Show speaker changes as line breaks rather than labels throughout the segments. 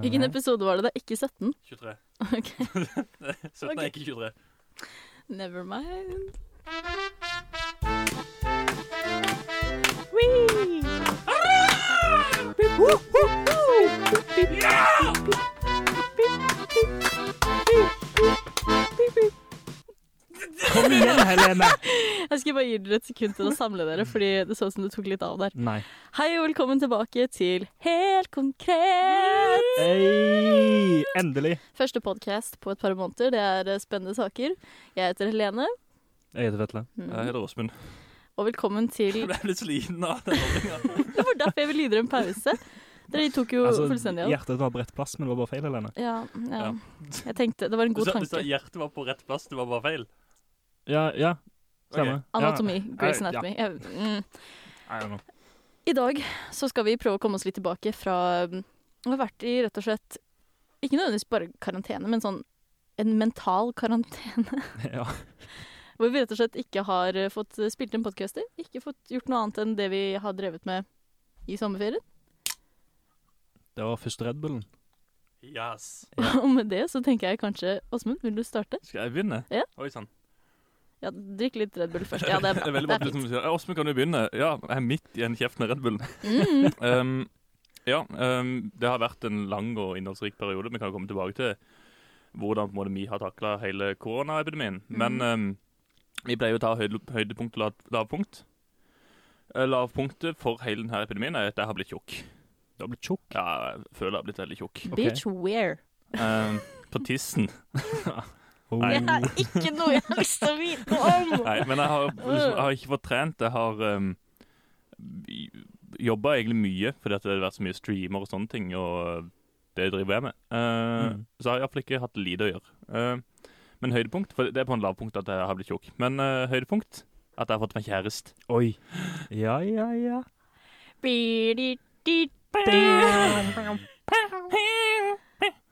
Hvilken episode var det? Det er ikke 17?
23.
Ok,
17 er ikke 23.
Never mind.
Kom igjen, Helene!
Jeg skal bare gi dere et sekund til å samle dere, fordi det så ut som det tok litt av der.
Nei.
Hei og velkommen tilbake til Helt konkret!
Hey, endelig.
Første podkast på et par måneder. Det er eh, spennende saker. Jeg heter Helene,
Jeg heter Vetle.
Jeg heter Åsmund.
og velkommen til
Jeg ble litt sliten av den ordninga.
Det var derfor jeg ville gi dere en pause. Dere tok jo
Altså,
fullstendig av.
hjertet var på rett plass, men det var bare feil, Helene.
Ja, ja.
Ja.
Jeg tenkte Det var en
Du
god
sa, du sa
tanke.
hjertet var på rett plass, det var bare feil.
Ja, ja. Stemmer.
Anatomi. Grace
Ja.
Anatomy. Jeg, mm.
Ja. I don't know.
I dag så skal vi prøve å komme oss litt tilbake fra mm, Vi har vært i rett og slett Ikke nødvendigvis bare karantene, men sånn en mental karantene.
Ja.
Hvor vi rett og slett ikke har eh, fått spilt inn podkaster. Ikke fått gjort noe annet enn det vi har drevet med i sommerferien.
Det var første Red Bullen.
Yes.
Og med det så tenker jeg kanskje Åsmund, vil du starte?
Skal jeg begynne?
Ja.
Oi sann.
Ja, drikk litt Red Bull først. Ja, det er
Det er
bra.
veldig bra
Det er
som
fint.
du sier. Åsmund, kan du begynne? Ja, jeg er midt i en kjeft med Red Bullen.
Mm.
Um, ja, um, det har vært en lang og innholdsrik periode. Vi kan jo komme tilbake til hvordan på en måte, vi har takla hele koronaepidemien.
Mm.
Men um, vi pleier jo å ta høyde, høydepunkt og lav- lavpunkt. Eh, Lavpunktet for hele denne epidemien er at jeg har blitt tjukk.
Du har blitt tjukk.
Ja, jeg føler jeg har blitt veldig tjukk.
Bitch where?
Um, på tissen.
Oh.
Det er ikke noe jeg har lyst til å vite om!
Nei, men jeg har, liksom, jeg har ikke fått trent. Jeg har um, jobba egentlig mye, fordi at det har vært så mye streamer og sånne ting, og det driver jeg med. Eh,
Mm.
Så har jeg iallfall ikke hatt lite å gjøre. Eh, men høydepunkt For det er på en lavpunkt at jeg har blitt tjukk. Men eh, høydepunkt at jeg har fått meg kjæreste.
Oi. Ja, ja, ja.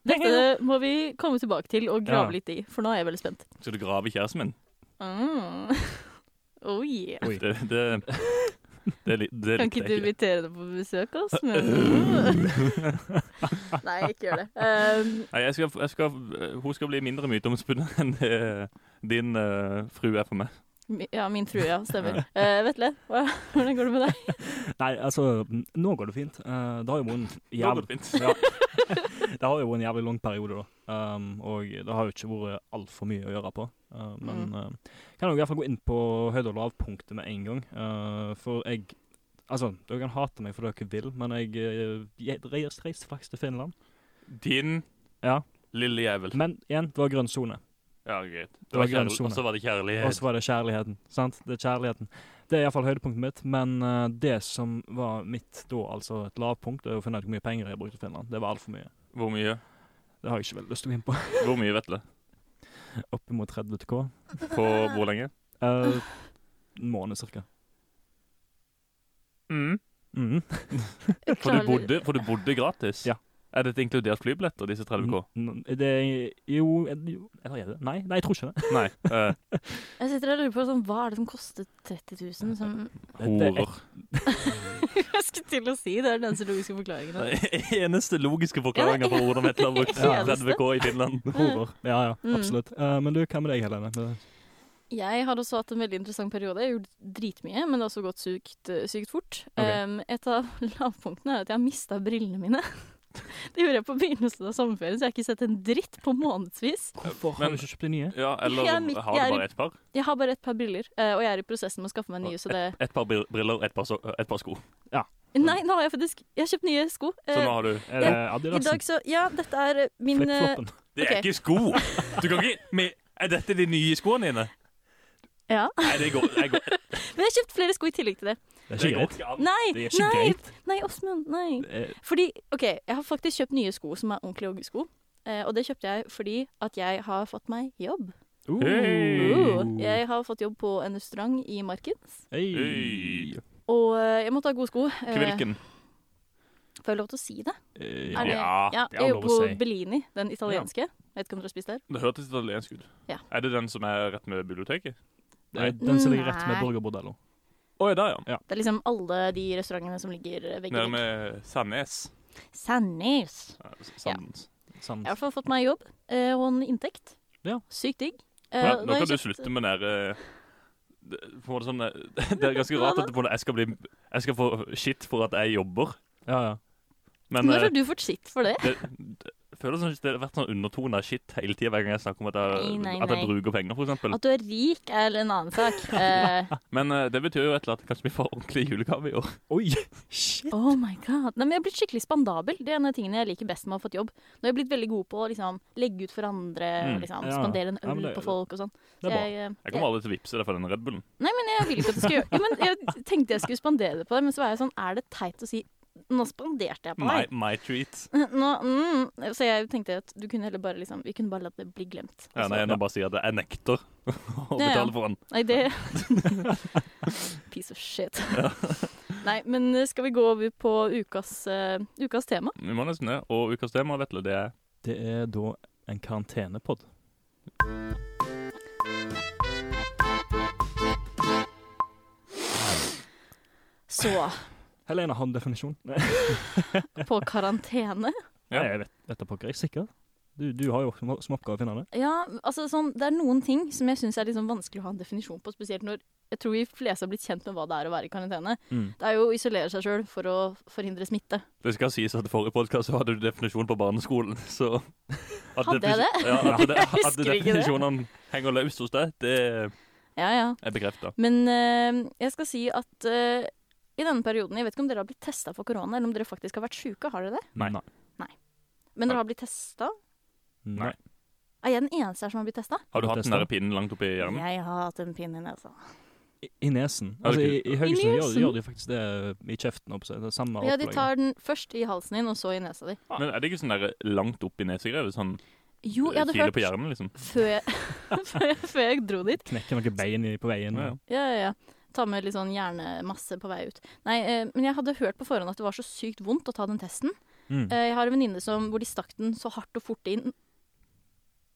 Dette må vi komme tilbake til og
Ja.
grave litt i, for nå er jeg veldig spent.
Skal du grave i kjæresten min?
Mm. Oh yeah.
Oi.
Det, det, det, er litt-
Kan
det likte
ikke du
jeg ikke.
invitere deg på besøk hos meg? Nei, ikke gjør det. Um,
Nei, jeg skal, jeg skal, hun skal bli mindre myteomspunnet enn det din eh, frue er for meg.
mi- ja, min frue, ja. Stemmer. Uh, Vetle, hva- hvordan går det med deg?
Nei, altså, nå går det fint. Eh, det har jo vært en
Nå går
jævlig
det fint.
ja. Det har jo vært en jævlig lang periode, da. Um, og det har jo ikke vært altfor mye å gjøre på. Uh, men uh, kan jeg i hvert fall gå inn på høyde- og lavpunktet med en gang. Uh, for jeg Altså, dere kan hate meg for det dere vil, men jeg, uh, jeg reiste reiste faktisk til Finland.
Din
Ja.
lille jævel.
Men igjen, det var grønn sone.
Ja, greit. Det
var
var kjærl-
grønn sone.
Og så var det
Og
kjærlighet.
så var det kjærligheten. Sant? Det er kjærligheten. Det er iallfall høydepunktet mitt, men uh, det som var mitt da, altså et lavpunkt, er å finne ut hvor mye penger jeg brukte i Finland. Det var altfor mye.
Hvor mye?
Det har jeg ikke veldig lyst til å gå inn på.
Hvor mye, vet du?
Oppimot 30 K.
På hvor lenge?
Eh, en måned cirka. Mhm.
For, du bodde, for du bodde gratis?
Ja. Mm.
Er dette inkludert flybilletter, disse 30K?
N- Det er jo, er det- jo Eller er det? Nei, nei, jeg tror ikke det.
Nei. eh,
Jeg sitter og lurer på sånn, hva er det som kostet 30 000? Som
Det
horer.
jeg skulle til å si, det er den eneste logiske forklaringen.
Det er eneste logiske forklaringa på hvordan Vetle har brukt
Ja.
30K i Finland.
Horer. Ja, ja,
Mm.
absolutt. Eh, men du, hva med deg, Helene? Med-
Jeg har også hatt en veldig interessant periode. Jeg har gjort dritmye, men det har også gått sykt, eh, sykt fort.
Ok.
Um, et av lavpunktene er at jeg har mista brillene mine. Det gjorde jeg på begynnelsen av sommerferien, så jeg har ikke sett en dritt på månedsvis.
Hvorfor har du
Men-
ikke kjøpt de nye?
Ja, eller
Jeg er
har du
midt- jeg er-
bare ett par?
Jeg har bare et par briller, eh, og jeg er i prosessen med å skaffe meg nye, så det
Ett par bril- briller, ett par, so et par sko.
Nei, nå har jeg faktisk Jeg har kjøpt nye sko.
Så nå
Eh,
har du
Er det altså?
I dag
Adidasen?
så Ja, dette er eh, min eh,
Flipfloppen?
Det er
Ok.
ikke sko! Du kan ikke med, Er dette de nye skoene dine?
eh, Ja.
Nei, det går, det går,
Men jeg har kjøpt flere sko i tillegg til det.
Det er
det
ikke
går
greit.
ikke an.
Nei!
Det er ikke
nei,
greit.
nei, Åsmund. Nei.
Eh,
Fordi, ok, jeg har faktisk kjøpt nye sko som er ordentlige joggesko. Eh, og det kjøpte jeg fordi at jeg har fått meg jobb.
uh.
Hey.
Mm.
Uh, jeg har fått jobb på en restaurant i Markens.
Hey.
Øy.
Og eh, jeg måtte ha gode sko. Eh,
Hvilken?
Får jeg lov til å si det?
Eh,
Er det-
ja.
ja,
det er
jeg
lov
jobber
å
på
si.
Bellini, den italienske. Vet ikke om dere har spist der.
Det hørtes italiensk ut.
Ja.
Er det den som er rett med biblioteket?
Det er Den som ligger rett med
Nei.
burgerbordello.
Å, ja, der, ja.
Det er liksom alle de restaurantene som ligger eh, vegg i
Nede
vegg.
med Sandnes.
Sandnes.
Ja, sant.
Sant.
Jeg har i hvert fall fått meg jobb eh, og en inntekt.
Ja.
Sykt digg. Eh,
Ja,
nå
nå
har
kan du
jeg kjøpt-
slutte med den der, eh, det- på en måte sånn, eh, Det er ganske rart at det på en måte- jeg skal, bli, jeg skal få shit for at jeg jobber,
Ja, ja.
men
Når
eh,
har du fått sitt for det?
det, det jeg føler som det har vært sånn undertone av shit hele tida hver gang jeg snakker om at jeg,
Nei, nei,
at
nei.
jeg bruker penger, for eksempel.
At du er rik er en annen sak. Eh,
Men eh, det betyr jo et eller annet at kanskje vi får ordentlig julegave i år.
Oi! Shit!
oh my god. Nei, men jeg har blitt skikkelig spandabel. Det er en av tingene jeg liker best med å ha fått jobb. Nå har jeg blitt veldig god på å liksom, legge ut for andre,
Mm,
liksom,
ja.
spandere en
Ja,
øl
men det-
på folk og sånn.
Det er bra.
Jeg, eh,
Jeg kommer aldri til å vippse deg for den Red Bullen.
Nei, men jeg vil ikke at du skal gjøre ja, men Jeg tenkte jeg skulle spandere det på deg, men så var jeg sånn Er det teit å si Nå spanderte jeg på
My,
deg.
my treat.
Nå, mm. Så jeg tenkte at du kunne heller bare liksom Vi kunne bare latt det bli glemt.
Ja, nei, jeg må bare si at jeg nekter å
Ja, ja.
betale for den.
Nei, det Piece of shit. Nei, men skal vi gå over på ukas, eh, ukas tema?
Vi må nesten det. Og ukas tema, vet du, det er
Det er da en karantenepod.
Så
Helene har en definisjon. Nei,
på karantene.
Ja.
jeg vet dette på ikke jeg er sikker. Du, du har jo som, som oppgave å finne det.
Ja, altså sånn Det er noen ting som jeg syns er liksom vanskelig å ha en definisjon på, spesielt når jeg tror vi fleste har blitt kjent med hva det er å være i karantene.
Mm.
Det er jo å isolere seg sjøl for å forhindre smitte.
Det skal sies at i forrige podkast hadde du definisjon på barneskolen, så at
Hadde jeg
defini- Ja, at, det,
Jeg
at
husker ikke det.
definisjonene henger løst hos deg, det
Ja, ja.
er bekrefta.
Men eh, jeg skal si at eh, i denne perioden Jeg vet ikke om dere har blitt testa for korona, eller om dere faktisk har vært sjuke. Har dere det?
Nei.
Nei.
Men dere har blitt testa?
Nei.
Er jeg den eneste her som har blitt testa?
Har du hatt den
Testa.
der pinnen langt oppi hjernen?
Jeg har hatt en pinne i nesa.
I, I nesen.
Er
Altså,
det
i,
kult?
i Haugesund gjør,
nesen?
gjør de faktisk det i kjeften. Oppå seg. Det er samme
Ja, de
opplegget.
tar den først i halsen din, og så i nesa di.
Men er det ikke sånn der langt oppi nesegrevet? Sånn
Jo, jeg hadde
kile
hørt
på hjernen, liksom?
før jeg, før, jeg, før jeg dro dit.
Knekker noen bein i, på veien.
Ja, ja.
Ja, ja, ja. Ta med litt sånn hjernemasse på vei ut. Nei, eh, men jeg hadde hørt på forhånd at det var så sykt vondt å ta den testen.
Mm.
Eh, jeg har en venninne som hvor de stakk den så hardt og fort inn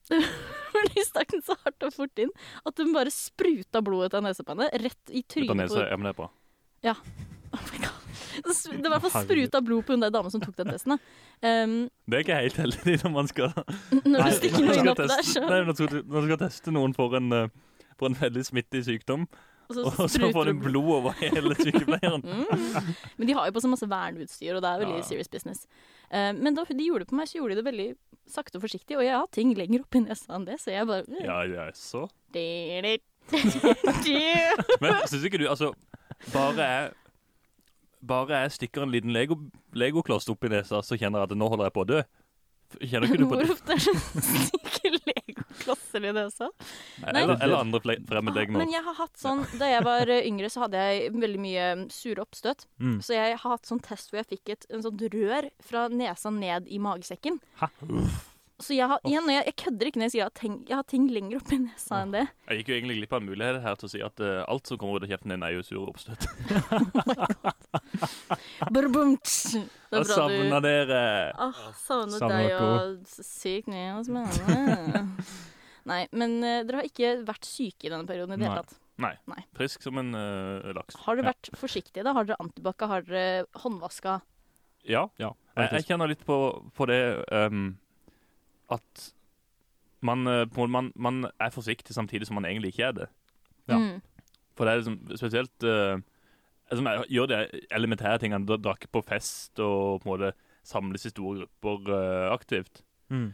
Hvor de stakk den så hardt og fort inn at hun bare spruta blod ut av nesa på henne. Rett i
Ut av
trynet.
nesa.
på-
Ja, men det er bra.
Oh my God. Det var i hvert fall
Herregud.
spruta blod på hun der dama som tok den testen. da. Um,
Det er ikke helt heldig når man skal
når
Nei,
du stikker
når
noe
man
inn
skal
oppi der
teste-
sjøl,
Nei, når du skal- når du skal teste noen for en, eh, for en veldig smittig sykdom,
og så
og så får
spruter du
du
blod.
blod over hele sykepleieren.
Mm. Men de har jo på seg masse verneutstyr, og det er veldig
Ja.
serious business. Eh, men da de gjorde det på meg, så gjorde de det veldig sakte og forsiktig, og jeg har ting lenger oppi nesa enn det, så jeg bare "Mm,
Ja, ja, så
Di-di-di-di.
Men syns ikke du Altså, bare jeg Bare jeg stikker en liten Lego, legokloss opp i nesa, så kjenner jeg at nå holder jeg på å dø. Kjenner ikke du på
Hvor
det?
ofte er det stikker legoklosser i nesa?
Eller, eller andre fle-
Ah, Men
fremmedlegemer.
jeg har hatt sånn, Da jeg var eh, yngre, så hadde jeg veldig mye mm, sure oppstøt.
Mm.
Så jeg har hatt sånn test hvor jeg fikk et en sånn rør fra nesa ned i magesekken.
Hæ?
Så jeg har, igjen, og jeg, jeg kødder ikke når jeg sier at ting- jeg har ting lenger oppi nesa enn det.
Jeg gikk jo egentlig glipp av en mulighet her til å si at eh, alt som kommer ut av kjeften din, er jo sur oppstøt.
Brumts. Det
Jeg
er bra du
savner dere!
Åh, savnet
Savner
deg
dere
og s- sykt mye altså, hos meg. Nei, men eh, dere har ikke vært syke i denne perioden i det
Nei.
hele tatt.
Frisk som en eh, laks.
Har
Ja.
dere vært forsiktige? da? Har dere antibac? Har dere håndvaska?
Ja.
Ja,
Jeg, jeg
faktisk.
kjenner litt på, på det ehm, at man, eh, på, en måte- man, man er forsiktig samtidig som man egentlig ikke er det.
Ja.
Mm.
For det er liksom spesielt eh, altså, Jeg gjør de elementære tingene. Da drakk på fest og på en måte samles i store grupper eh, aktivt.
Mm.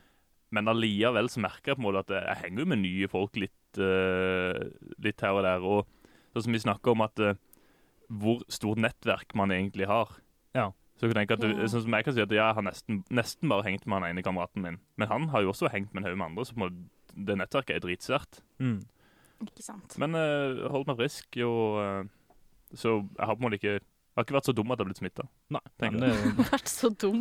Men allikevel så merker jeg på en måte at jeg, jeg henger jo med nye folk litt, eh, litt her og der. Og sånn som vi snakker om at eh, hvor stort nettverk man egentlig har.
Ja.
Så jeg kan tenke at du,
Ja.
sånn som jeg kan si at jeg har nesten, nesten bare hengt med han ene kameraten min. Men han har jo også hengt med en haug med andre, så på en måte det nettverket er dritsvært.
Mm.
Ikke sant.
Men uh, holdt meg frisk, og eh, så jeg har på en måte ikke jeg har ikke vært så dum at jeg har blitt smitta.
Nei,
Tenker
men det er jo
Vært så dum.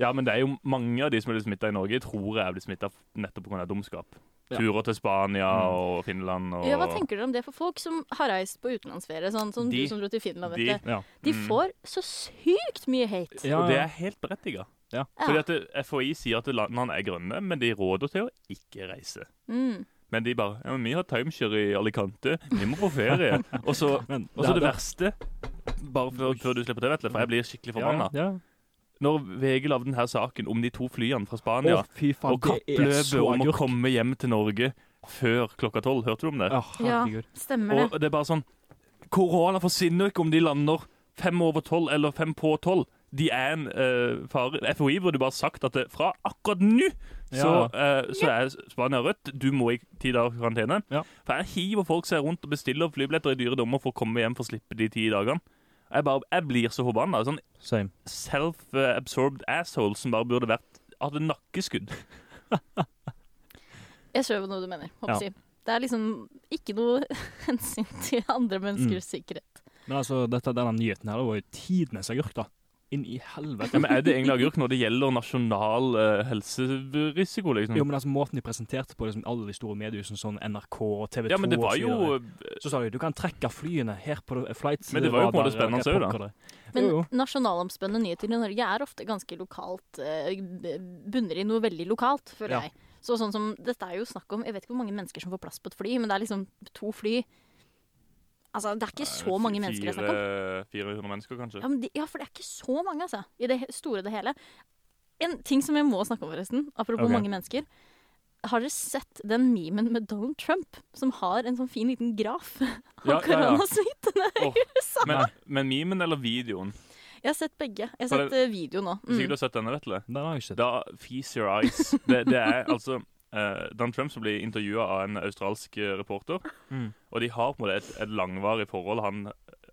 Ja, men det er jo mange av de som er blitt smitta i Norge, tror jeg er blitt smitta nettopp pga. dumskap.
Ja.
Turer til Spania
Mm.
og Finland og
Ja, Hva tenker dere om det for folk som har reist på utenlandsferie, sånn som
De-
du som dro til Finland?
de-
vet du?
Ja.
De
Mm.
får så sykt mye hate.
ja,
Og det
ja.
er helt berettiga.
Ja.
Fordi at eh, det- FHI sier at landene er grønne, men de råder til å ikke reise.
Mm.
Men de bare ja, men 'Vi har timeshare i Alicante. Vi må på ferie.' Og så
Men
og så det
det-
verste Bare før, før du slipper til, Vetle, for jeg blir skikkelig
Ja,
forbanna.
Ja,
når VG lagde denne saken om de to flyene fra
Å,
Spania
fy faen,
og
det er
kappløpet
så
om å
agurk.
komme hjem til Norge før klokka tolv. Hørte du om det?
Ja, herregud.
Stemmer
Og
det.
det er bare sånn Korona forsvinner jo ikke om de lander fem over tolv eller fem på tolv. De er en eh, fare. FHI burde bare sagt at det, fra akkurat nå så, eh, så er Spania rødt. Du må i ti dager i karantene.
Ja.
For her hiver folk seg rundt og bestiller flybilletter i dyre dommer for å komme hjem for å slippe de ti dagene. Jeg, bare, jeg blir så forbanna. Sånn
Same.
self-absorbed asshole som bare burde vært hatt et nakkeskudd.
Jeg skjønner hva du mener. håper
Ja.
jeg. Det er liksom ikke noe hensyn til andre menneskers
Mm.
sikkerhet.
Men altså, dette, denne nyheten her det var jo tidenes agurk, da. Inn i
Ja,
helvete.
men Er det egentlig agurk når det gjelder nasjonal eh, helserisiko, liksom?
Jo, men altså, Måten de presenterte på liksom, alle de store mediehusene, sånn NRK og TV 2
ja, men det var
og så videre.
jo eh,
Så sa de du kan trekke flyene her på flights.
Men det var jo på en måte spennende også, da.
Men
Jo, jo.
nasjonalomspennende nyheter i Norge er ofte ganske lokalt eh, b- Bunner i noe veldig lokalt, føler
Ja.
jeg. Så sånn som, Dette er jo snakk om Jeg vet ikke hvor mange mennesker som får plass på et fly, men det er liksom to fly Altså, Det er ikke så mange mennesker det er snakk om.
400 mennesker, kanskje.
Ja, men de, ja, for det er ikke så mange, altså. I det he- store og det hele. En ting som jeg må snakke om, forresten. Apropos
Ok.
mange mennesker. Har dere sett den memen med Donald Trump som har en sånn fin liten graf av
Ja, ja, ja.
koronasmittene?
Åh,
USA?
men, men memen eller videoen?
Jeg har sett begge. Jeg har
Har
sett eh, video nå.
Hvis ikke
Mm.
du har sett denne, Vetle
Den har jeg ikke sett.
Da feast your eyes. Det, det er altså eh, Donald Trump som blir intervjua av en australsk eh, reporter.
Mm.
Og de har på en måte et, et langvarig forhold. Han,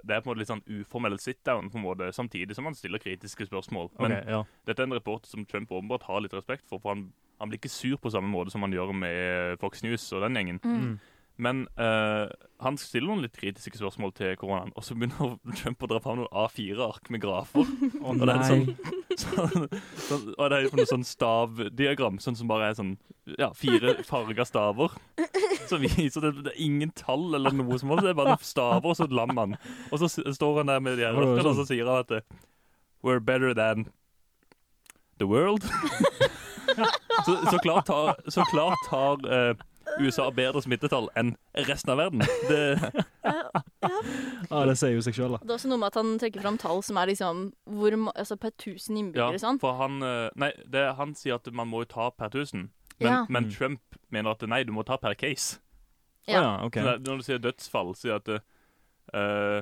det er på en måte litt sånn uformell sit-down, på en måte, samtidig som han stiller kritiske spørsmål. Men
Ok, ja.
dette er en reporter som Trump åpenbart har litt respekt for, for han, han blir ikke sur på samme måte som han gjør med eh, Fox News og den gjengen.
Mm.
Mm.
Men eh, han stiller noen litt kritiske spørsmål til koronaen, og så begynner Trump å dra fram noen A4-ark med grafer.
Å
det er
nei.
sånn- Sånn, sånn, og det er jo noe sånn stavdiagram, sånn som bare er sånn ja, fire farga staver. Som viser at det er ingen tall eller noe som helst, det er bare noen staver, og så et lam han. Og så s- står han der med de her
Var det
røttene, og
sånn?
så sier han at eh, We're better than the world. så, så klart har, så klart har eh, USA bedre smittetall enn resten av verden. Det,
Ja, det sier jo seg sjøl, da.
Det er også noe med at han trekker fram tall som er liksom hvor, ma- altså per 1000
ja,
innbyggere. sånn.
for han, eh, nei, det, han sier at man må jo ta per tusen. Men,
Ja.
men
Mm.
Trump mener at nei, du må ta per case.
Ja.
Å ja, OK.
Så det er- Når du sier dødsfall, sier at eh,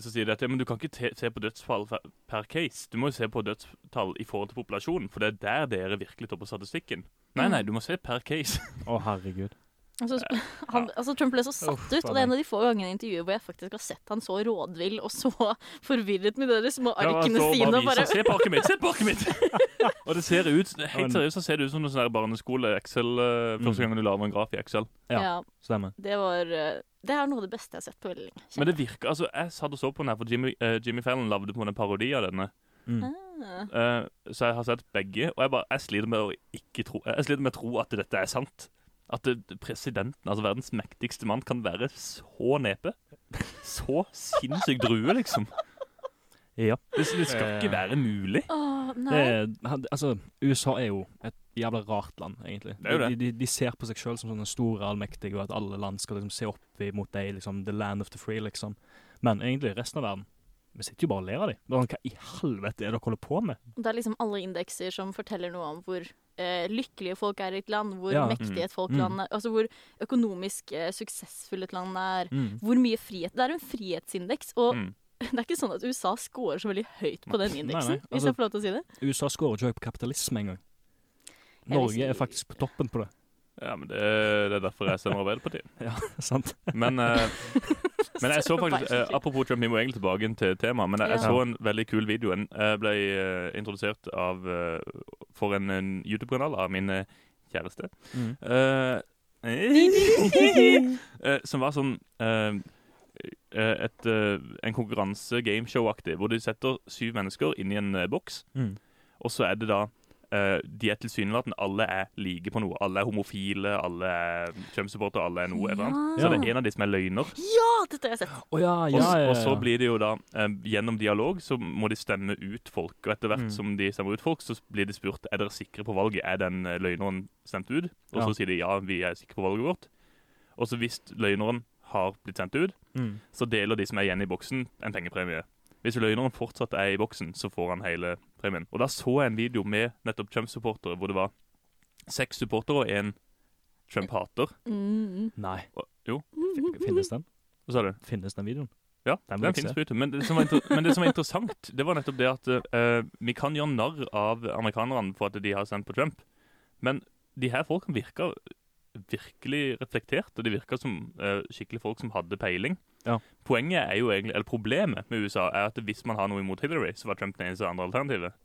så sier de at ja, men du kan ikke te se på dødsfall fe- per case. Du må jo se på dødstall i forhold til populasjonen, for det er der dere virkelig tar på statistikken. Nei,
Mm.
nei, du må se per case.
Å, herregud.
Altså, sp- han, altså Trump ble så satt
Uff,
ut, og det er en av de få gangene i intervjuet hvor jeg faktisk har sett han så rådvill og så forvirret med de der små
Ja,
arkene
så
sine.
bare
og bare...
viser, Se på arket mitt! Se på arket mitt! og det ser ut, helt seriøst så ser det ut som noe sånn der barneskole-Excel, eh, første
Mm.
gangen du lager en graf i Excel.
Ja.
Ja.
Stemmer.
det, var, eh, det er noe av det beste jeg har sett på veldig lenge.
Men det virker, altså, jeg satt og så på den her, for Jimmy, eh, Jimmy Fallon lagde på en parodi av denne.
Mm.
Ah.
Eh, så jeg har sett begge, og jeg, bare, jeg sliter med å ikke tro Jeg sliter med å tro at dette er sant. At det, presidenten, altså verdens mektigste mann, kan være så nepe. Så sinnssyk drue, liksom.
Ja.
Det, det skal ikke være mulig.
Åh,
Det
nei.
er, han- altså, USA er jo et jævla rart land, egentlig.
Det er jo det.
De, de, de ser på seg sjøl som sånne store allmektige, og at alle land skal liksom se opp mot deg. Liksom, the land of the free, liksom. Men egentlig, resten av verden Vi sitter jo bare og ler av dem. Hva i helvete er det dere holder på med?
Det er liksom alle indekser som forteller noe om hvor eh, lykkelige folk er i et land, hvor
Ja.
mektige et folk
Mm.
land er, altså hvor økonomisk eh, suksessfulle et land er, hvor mye frihet Det er en frihetsindeks, og
Mm.
det er ikke sånn at USA scorer så veldig høyt på den
Nei,
indeksen,
nei, altså-
hvis jeg får lov til å si det.
USA skårer ikke høyt på kapitalisme engang.
vil si-
Norge er faktisk på toppen på det.
Ja, men det, det er derfor jeg stemmer Arbeiderpartiet.
Sant?
Men, eh, men jeg så
Stemmer
faktisk
feil,
eh, Apropos Trump, vi må egentlig tilbake igjen til temaet. Men jeg, jeg
Ja.
så en veldig kul video. En eh, ble eh, introdusert av eh, for en, en YouTube-kanal av min eh, kjæreste.
Mm.
Eh, eh, som var sånn eh, eh, et, eh, en konkurranse gameshow-aktig, hvor de setter syv mennesker inn i en eh, boks.
Mm.
Og så er det da eh, De er tilsynelatende alle er like på noe. Alle er homofile, alle er kjønnssupporter, alle er noe. eller annet. Så det er en av de som er løgner.
Ja, dette har jeg sett.
Å ja,
Og,
ja, ja, ja.
og så blir det jo da eh, Gjennom dialog så må de stemme ut folk. Og etter hvert
Mm.
som de stemmer ut folk, så blir de spurt er dere sikre på valget. Er den eh, løgneren stemt ut? Og
Ja.
så sier de ja, vi er sikre på valget vårt. Og så hvis løgneren har blitt sendt ut,
mm.
så deler de som er igjen i boksen, en pengepremie. Hvis løgneren fortsatt er i boksen, så får han hele premien. Og da så jeg en video med nettopp Trump-supportere, hvor det var seks supportere og én Trump-hater.
Mm.
Nei.
Jo,
Fin- Finnes den?
hva sa du?
Finnes den videoen?
Ja,
Den
den,
må jeg
finnes
se.
på YouTube. Men det, som var inter- men det som var interessant, det var nettopp det at eh, vi kan gjøre narr av amerikanerne for at de har stemt på Trump, men de her folkene virka virkelig reflektert, og de virka som eh, skikkelig folk som hadde peiling.
Ja.
Poenget er jo egentlig, eller Problemet med USA er at hvis man har noe imot Hillary, så var Trump det eneste andre alternativet.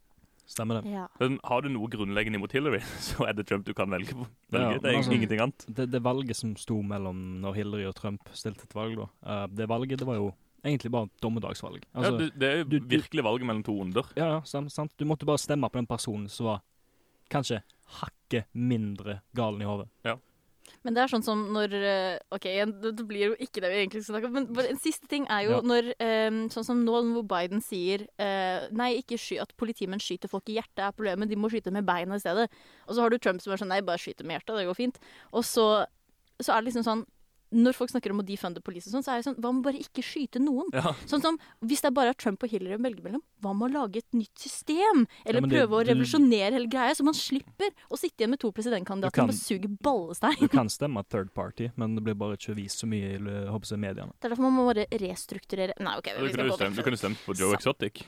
Stemmer det.
Ja.
Men Har du noe grunnleggende imot Hillary, så er det Trump du kan velge. på.
Ja,
velge. det er
men
altså-
egentlig ingenting annet.
det, det valget som sto mellom når Hillary og Trump stilte et valg, da. eh, det valget det var jo egentlig bare et dommedagsvalg.
ja,
Altså,
det, det er jo
du- du-
virkelig valget mellom to onder.
ja, ja, sant, sant. Du måtte bare stemme på den personen som var kanskje hakket mindre galen i hodet.
Men det er sånn som når eh, OK, igjen, det det blir jo ikke det vi egentlig skal snakke om, men bare en siste ting er jo
Ja.
når eh, Sånn som nå hvor Biden sier eh, Nei, ikke sky at politimenn skyter folk i hjertet er problemet, de må skyte med beina i stedet. Og så har du Trump som er sånn Nei, bare skyte med hjertet, det går fint. Og så, så er det liksom sånn når folk snakker om å defunde politiet, og sånn, så er det sånn Hva med bare ikke skyte noen?
Ja.
Sånn som, Hvis det er bare er Trump og Hillary å velge mellom, hva med å lage et nytt system? Eller
men det-
prøve å
du-
revolusjonere hele greia, så man slipper å sitte igjen med to
Du kan-
presidentkandidater som bare suger ballestein.
Du kan stemme third party, men det blir bare ikke vist så mye i jeg håper jeg, mediene.
Det er derfor man må bare restrukturere Nei, OK.
Du
Vi
kunne
skal
jo
gå
stemt, du
vekk.
kunne stemt på Joe Exotic.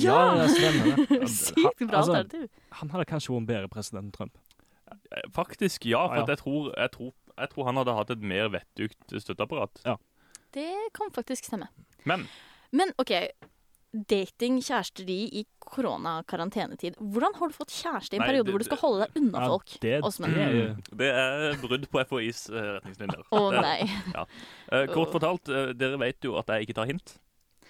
Ja!
det stemmer det.
Sykt bra
altså,
alternativ.
Han hadde kanskje vært en bedre president enn Trump.
Eh, Faktisk, ja.
Ah, Ja,
For
ja.
At jeg, tror, jeg, tror, jeg tror han hadde hatt et mer vettugt støtteapparat.
Det kan faktisk stemme.
Men
Mm.
Men OK. Dating, kjæresteri i koronakarantenetid. Hvordan har du fått kjæreste i en
Nei,
periode
det-
hvor du skal holde deg unna
Ja,
folk?
det-
Åsmund?
det- er
det er brudd på FHIs eh, retningslinjer.
Å nei.
Eh, Kort fortalt, eh, dere vet jo at jeg ikke tar hint.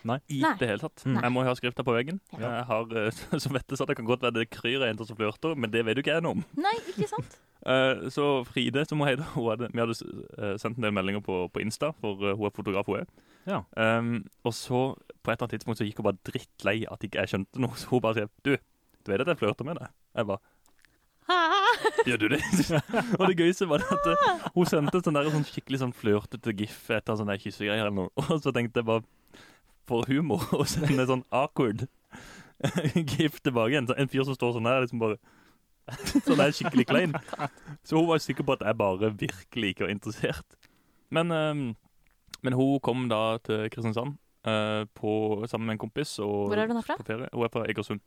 Nei. Mm.
I
Nei.
det hele tatt.
Nei.
Jeg må jo ha skrifta på veggen.
Ja.
Jeg har, eh, som vet så det kan godt være det kryr av jenter som flørter, men det vet jo ikke jeg noe om.
Nei, ikke sant?
Eh, så Fride, som hun heter, hun hadde, vi hadde eh, sendt en del meldinger på, på Insta, for eh, hun er fotograf, hun er.
Ja.
Ehm, og så, på et eller annet tidspunkt, så gikk hun bare drittlei at ikke jeg skjønte noe. Så hun bare sier Du, du vet at jeg flørter med deg? Jeg bare
Ah,
Gjør du det? og det gøyeste var det at eh, hun sendte en sånn, der, sånn skikkelig sånn flørtete gif etter sånne der kyssegreier eller noe. Og så tenkte jeg bare For humor å sende sånn awkward gif tilbake igjen. Så En fyr som står sånn her, liksom bare Sånn er skikkelig klein. Så hun var sikker på at jeg bare virkelig ikke var interessert. Men, ehm, men hun kom da til Kristiansand eh, på, sammen med en kompis. Og,
Hvor er hun fra?
På ferie. Hun er fra Egersund.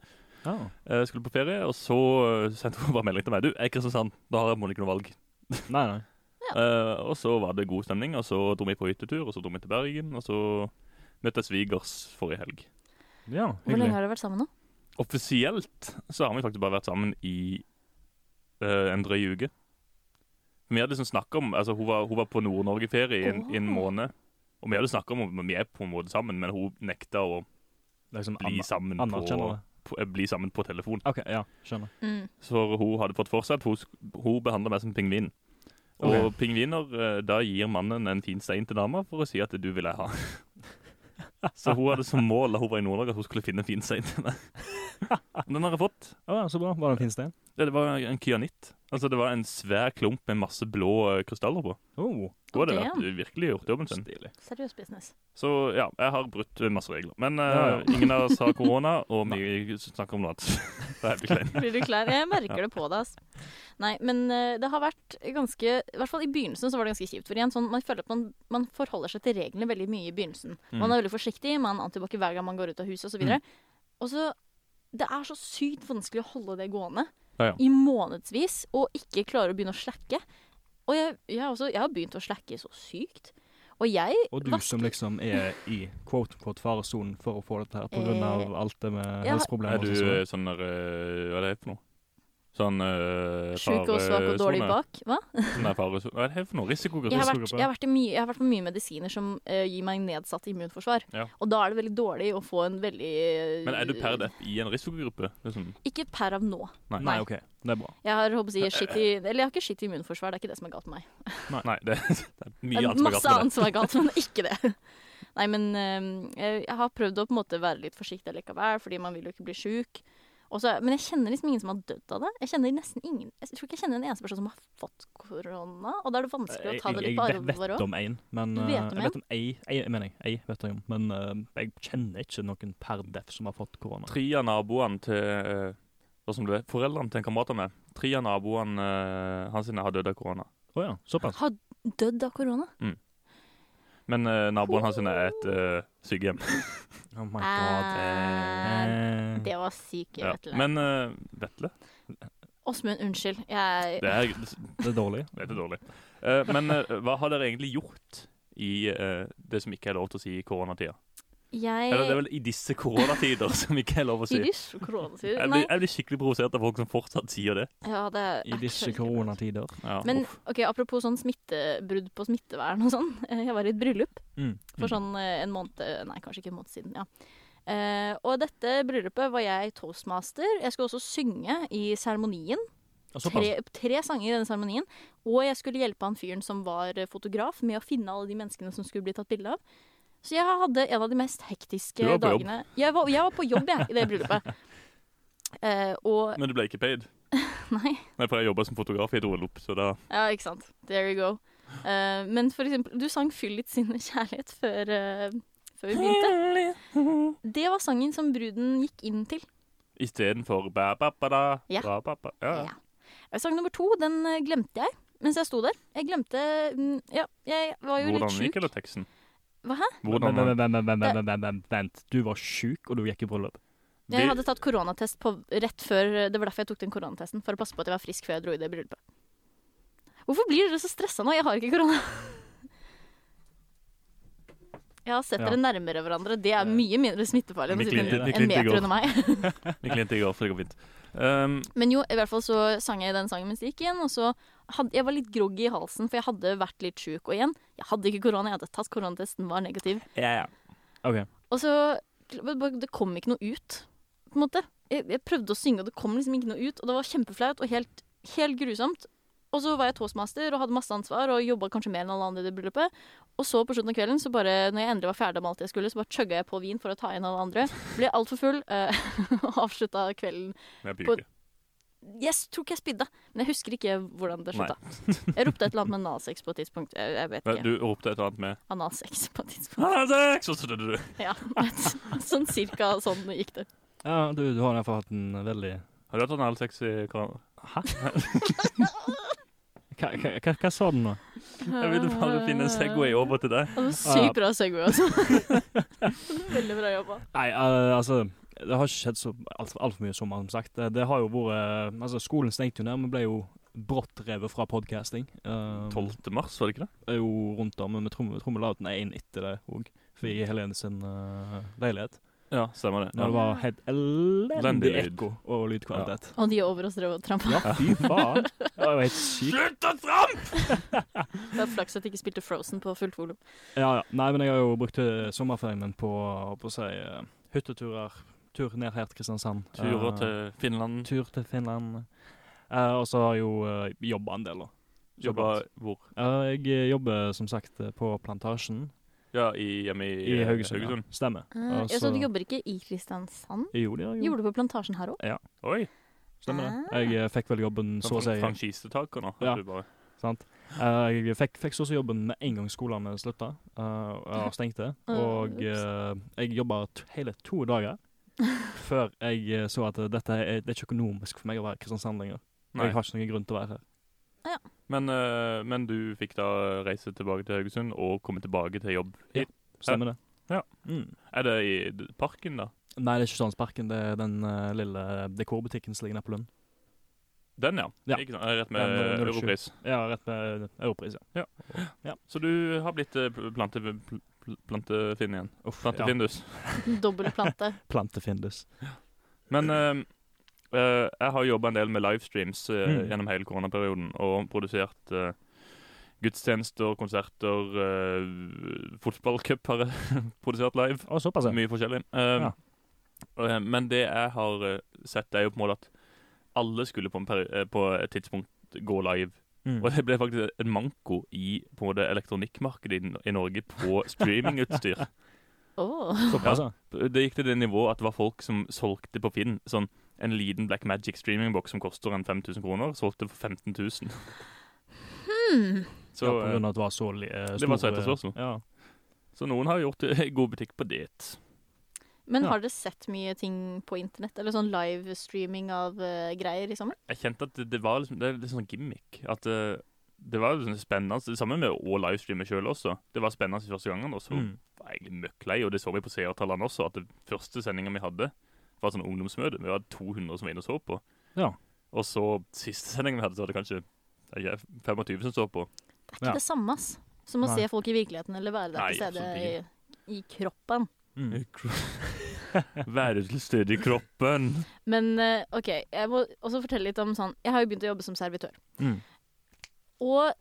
Ja.
Eh, skulle på ferie, og så eh, sendte hun bare melding til meg. Du, jeg er i Kristiansand. Da har jeg må ikke noe valg.
Nei, nei.
Eh, og så var det god stemning, og så dro vi på hyttetur, og så dro vi til Bergen, og så møtte jeg svigers forrige helg.
Ja,
Hvor lenge
hyggelig.
har dere vært sammen nå?
Offisielt så har vi faktisk bare vært sammen i eh, en drøy uke. Vi hadde liksom snakket om, altså Hun var, hun var på Nord-Norge-ferie i en, i en
Åh.
måned. Og vi hadde snakka om at vi er på en måte sammen, men hun nekta å
Liksom
bli
aner-
sammen på,
anerkjenner det.
på, eh, bli sammen på telefon.
OK, ja, skjønner.
Mm.
Så hun hadde fått fortsatt. Hun, sk- hun behandla meg som pingvin. Og
Ok.
pingviner, eh, da gir mannen en fin stein til dama for å si at du vil jeg ha. Så hun hadde som mål da hun var i Nord-Norge at hun skulle finne en fin stein til meg. Den har jeg fått.
Å ja, så bra. Var det en fin stein?
Ja, Det var en kyanitt. Altså, det var en svær klump med masse blå eh, krystaller på.
Oh,
Da hadde
Damn.
vært virkelig gjort jobben sin.
stilig.
Seriøs business.
Så ja, jeg har brutt eh, masse regler. Men eh,
Ja, ja.
ingen av oss har korona, og vi snakker om noe annet. Det er jævlig kleint.
Blir du klar? Jeg merker det på deg. ass. Nei, men eh, det har vært ganske I hvert fall i begynnelsen så var det ganske kjipt. For igjen, sånn, man føler at man, man forholder seg til reglene veldig mye i begynnelsen.
Mm.
Man er veldig forsiktig, man antibac hver gang man går ut av huset osv. Og så Det er så sykt vanskelig å holde det gående
Ja, ja.
i månedsvis og ikke klare å begynne å slakke. Og jeg, jeg, har også, jeg har begynt å slakke så sykt. Og jeg
Og du
Vaske-
som liksom er i quote quote faresonen for å få dette her pga.
Eh,
alt det med
ja.
Er
helseproblemer.
du
og sånn.
eh, sånn der eh, Hva er det for noe? Sånn uh,
Sjuk og svak og dårlig bak. Hva?
eh, Nei, faresone. Hva er det for
Jeg har,
noe?
vært,
Risikogruppe?
jeg, har vært i mye, jeg har vært på mye medisiner som eh, gir meg nedsatt immunforsvar.
Ja.
Og da er det veldig dårlig å få en veldig eh,
Men er du per deff i en risikogruppe? Liksom?
Ikke per av nå.
Nei, OK. Det er bra.
Jeg har håper jeg, shit i, eller jeg har ikke shit i immunforsvar, det er ikke det som er galt med meg.
Nei, det, det er mye
Det
annet
er masse
som er galt med det.
annet som er galt, men ikke det. Nei, men eh, jeg, jeg har prøvd å på en måte være litt forsiktig likevel, fordi man vil jo ikke bli sjuk. Og så- Men jeg kjenner liksom ingen som har dødd av det. Jeg kjenner nesten ingen Jeg tror ikke jeg kjenner en eneste person som har fått ko- korona, og da er det
Eh,
vanskelig å ta det
jeg,
litt på
jeg vet-
alvor
vet
òg.
om én, men
Du
eh,
vet om
Jeg vet om ei, ei, mener jeg, ei vet jeg om, men eh, jeg kjenner ikke noen per def som har fått korona.
Tre av naboene til eh, hva som det er, foreldrene til en kamerat av meg Tre av naboene eh, hans sine har dødd av korona.
Å ja,
altså.
såpass.
Har dødd av korona?
Men eh, naboen hans sine er et eh, sykehjem.
Oh my god.
Eh,
Eh,
Ah, Det var syk
Mm. Ja.
Vetle.
Men eh, Vetle
Åsmund, unnskyld. Jeg
Det er,
det er dårlig.
det er dårlig. Eh, men eh, hva har dere egentlig gjort i eh, det som ikke er lov til å si i koronatida? Eller det er
Jeg
vel i disse koronatider som ikke er lov å si.
I disse koronatider
Jeg
Nei.
blir, jeg blir skikkelig provosert av folk som fortsatt sier det.
Ja, det er
I disse
actually-
koronatider.
Ja.
Men
Uff.
ok, apropos sånn smittebrudd på smittevern og sånn. Eh, Jeg var i et bryllup
Mm.
for sånn eh, en måned Nei, kanskje ikke en måned siden. ja. Eh, og dette bryllupet var jeg toastmaster. Jeg skulle også synge i seremonien.
Ja, såpass.
Tre, tre sanger i denne seremonien. Og jeg skulle hjelpe han fyren som var eh, fotograf, med å finne alle de menneskene som skulle bli tatt bilde av. Så jeg hadde en av de mest hektiske
Du var på jobb.
dagene jeg var, jeg var på jobb, jeg, i det bryllupet. Eh, og
Men du ble ikke paid?
Nei.
Nei, for jeg jobba som fotograf i et OL-lopp, så da
Ja, ikke sant. There you go. Eh, men for eksempel, du sang 'Fyll litt sinne kjærlighet' før, eh, før vi begynte. Det var sangen som bruden gikk inn til.
Istedenfor ba-ba-ba-da,
Ja.
ba-ba-ba ja.
Ja. Sang nummer to, den eh, glemte jeg mens jeg sto der. Jeg glemte mm, Ja, jeg var jo
Hvordan
litt
gikk
sjuk.
det, teksten?
Hva hæ?
Hvordan
Vent, vent, vent, vent, vent, vent, vent, vent. Du var sjuk, og du gikk i bryllup.
Jeg hadde tatt koronatest på, rett før Det var derfor jeg tok den koronatesten. For å passe på at jeg var frisk før jeg dro i det bryllupet. Hvorfor blir dere så stressa nå? Jeg har ikke korona. Jeg har sett
Ja.
dere nærmere hverandre. Det er mye mindre smittefarlig enn å
Vi
sitte
klinte- vi
en-
klinte
en meter
i går.
under meg.
Vi klinte i går, så det går fint. Um,
Men jo, i hvert fall så sang jeg den sangen mens det gikk igjen. Og så hadde, jeg var litt groggy i halsen, for jeg hadde vært litt sjuk. Og igjen, jeg hadde ikke korona, jeg hadde tatt koronatesten, var negativ.
OK.
Og så Det kom ikke noe ut, på en måte. Jeg, jeg prøvde å synge, og det kom liksom ikke noe ut. Og det var kjempeflaut og helt, helt grusomt. Og så var jeg toastmaster og hadde masse ansvar og jobba kanskje mer enn alle andre i det bryllupet. Og så på slutten av kvelden, så bare, når jeg endelig var ferdig med alt jeg skulle, så bare chugga jeg på vin for å ta igjen alle andre. Ble altfor full eh, og avslutta kvelden
jeg
På-
bygger.
jeg s- tror ikke jeg spydde, men jeg husker ikke hvordan det slutta. Jeg ropte et eller annet med analsex på et tidspunkt. Jeg, jeg vet
Men
ikke.
Du ropte et eller annet med
Analsex på et tidspunkt.
«Analsex!» Og så døde du.
Ja, vet. Sånn cirka sånn gikk det.
Ja, du, du har derfor hatt en veldig
Har du hatt analsex i korona?
Hva, hva, hva, hva sa den nå?
Jeg ville bare finne en Segway over til deg.
Det var sykt bra Segway, altså. Veldig bra jobba.
Nei, eh, altså Det har ikke skjedd så altfor alt for mye i sommer, som sagt. Det, det har jo vært Altså, skolen stengte jo ned. Vi ble jo brått revet fra podcasting. Eh,
12. mars, var det ikke det?
er jo rundt der, men vi tromme- trommelauten er inn etter det òg. For i Helene sin eh, leilighet.
Ja, stemmer det.
Når det
Ja.
var helt elendig
Elendig lyd.
ekko og lydkvalitet.
Og de over oss drev og trampa.
Ja, fy faen. Det var jo helt sykt.
Slutt å trampe!
Det var flaks at de ikke spilte Frozen på fullt volum.
Ja, ja. Nei, men jeg har jo brukt eh, sommerferien min på, på å si, eh, hytteturer. Tur ned her til Kristiansand.
Turer
Eh,
til Finland.
tur til Finland. Eh, og så har jeg jo uh, jobba en del, da. Så
Jobba
klart.
hvor?
Eh, jeg jobber som sagt eh, på Plantasjen
Ja, i, hjemme i, eh,
i Haugesund. ja.
Haugesund.
Stemmer.
Uh,
Altså-
så du jobber ikke i Kristiansand?
Jo, det gjør jeg jo.
Gjorde du på Plantasjen her òg?
Oi!
Stemmer det. Jeg eh, fikk vel jobben så å si.
Franchisetaker nå.
Ja.
at du bare-
Sant? Eh, jeg fikk, fikk så å si jobben med en gang skolene slutta eh, og stengte.
Ah,
Og eh, jeg jobba t hele to dager før jeg eh, så at eh, dette er, det er ikke økonomisk for meg å være i Kristiansand lenger. Og
Nei.
jeg har ikke noen grunn til å være her.
Men, eh, men du fikk da reise tilbake til Haugesund og komme tilbake til jobb.
Ja. Stemmer det?
Ja.
Mm.
Er det i d- parken, da?
Nei, det er ikke Stansparken. Det er den eh, lille dekorbutikken som ligger nede på Lund.
Den, ja.
Ja.
Ikke sant? Rett
Den, eh,
med
07.
europris.
Ja, rett
eh,
ved Europris, ja.
Så du har blitt eh, pl- plante, pl- pl- plantefinn igjen.
Uff, ja.
Plantefindus.
Dobbel plante.
Plantefindus.
Men eh, eh, jeg har jobba en del med livestreams eh,
Mm.
gjennom hele koronaperioden. Og produsert eh, gudstjenester, konserter, uh, fotballcup har jeg produsert live.
Å, såpass, ja.
Mye forskjellig. Um,
Altså. Ja.
eh, Men det jeg har eh, sett, er jo på en måte at alle skulle på, en peri eh, på et tidspunkt gå live.
Mm.
Og det ble faktisk en manko i på det elektronikkmarkedet i, i Norge på streamingutstyr.
Åh.
Såpass, ja. altså.
det gikk til det nivået at det var folk som solgte på Finn sånn en liten Black Magic streamingboks som koster en 5000 kroner, solgte for 15 000.
Hmm.
Så,
ja, på
eh,
grunn av at det var så li- eh,
det var så
stor, eh,
etterspørsel.
Ja.
så noen har gjort eh, god butikk på det.
Men
Ja.
har dere sett mye ting på internett? Eller sånn livestreaming av eh, greier i sommer?
Jeg kjente at det, det var liksom, det er litt sånn gimmick. At eh, det var liksom spennende. Det samme med å livestreame sjøl også. Det var spennende første gangen, og så
Mm.
var jeg egentlig møkklei. Og det så vi på seertallene også, at det første sendinga vi hadde, var sånn ungdomsmøte. Vi hadde 200 som var inne og så på.
Ja.
Og så siste sendinga vi hadde, så var det kanskje jeg vet ikke, 25 som så på.
Det er ikke
Ja.
det samme ass, som å
Nei.
se folk i virkeligheten eller være der
Nei,
til stede i,
absolutt
i kroppen.
Mm.
Være til stede i kroppen.
Men eh, OK, jeg må også fortelle litt om sånn Jeg har jo begynt å jobbe som servitør.
Mm.
Og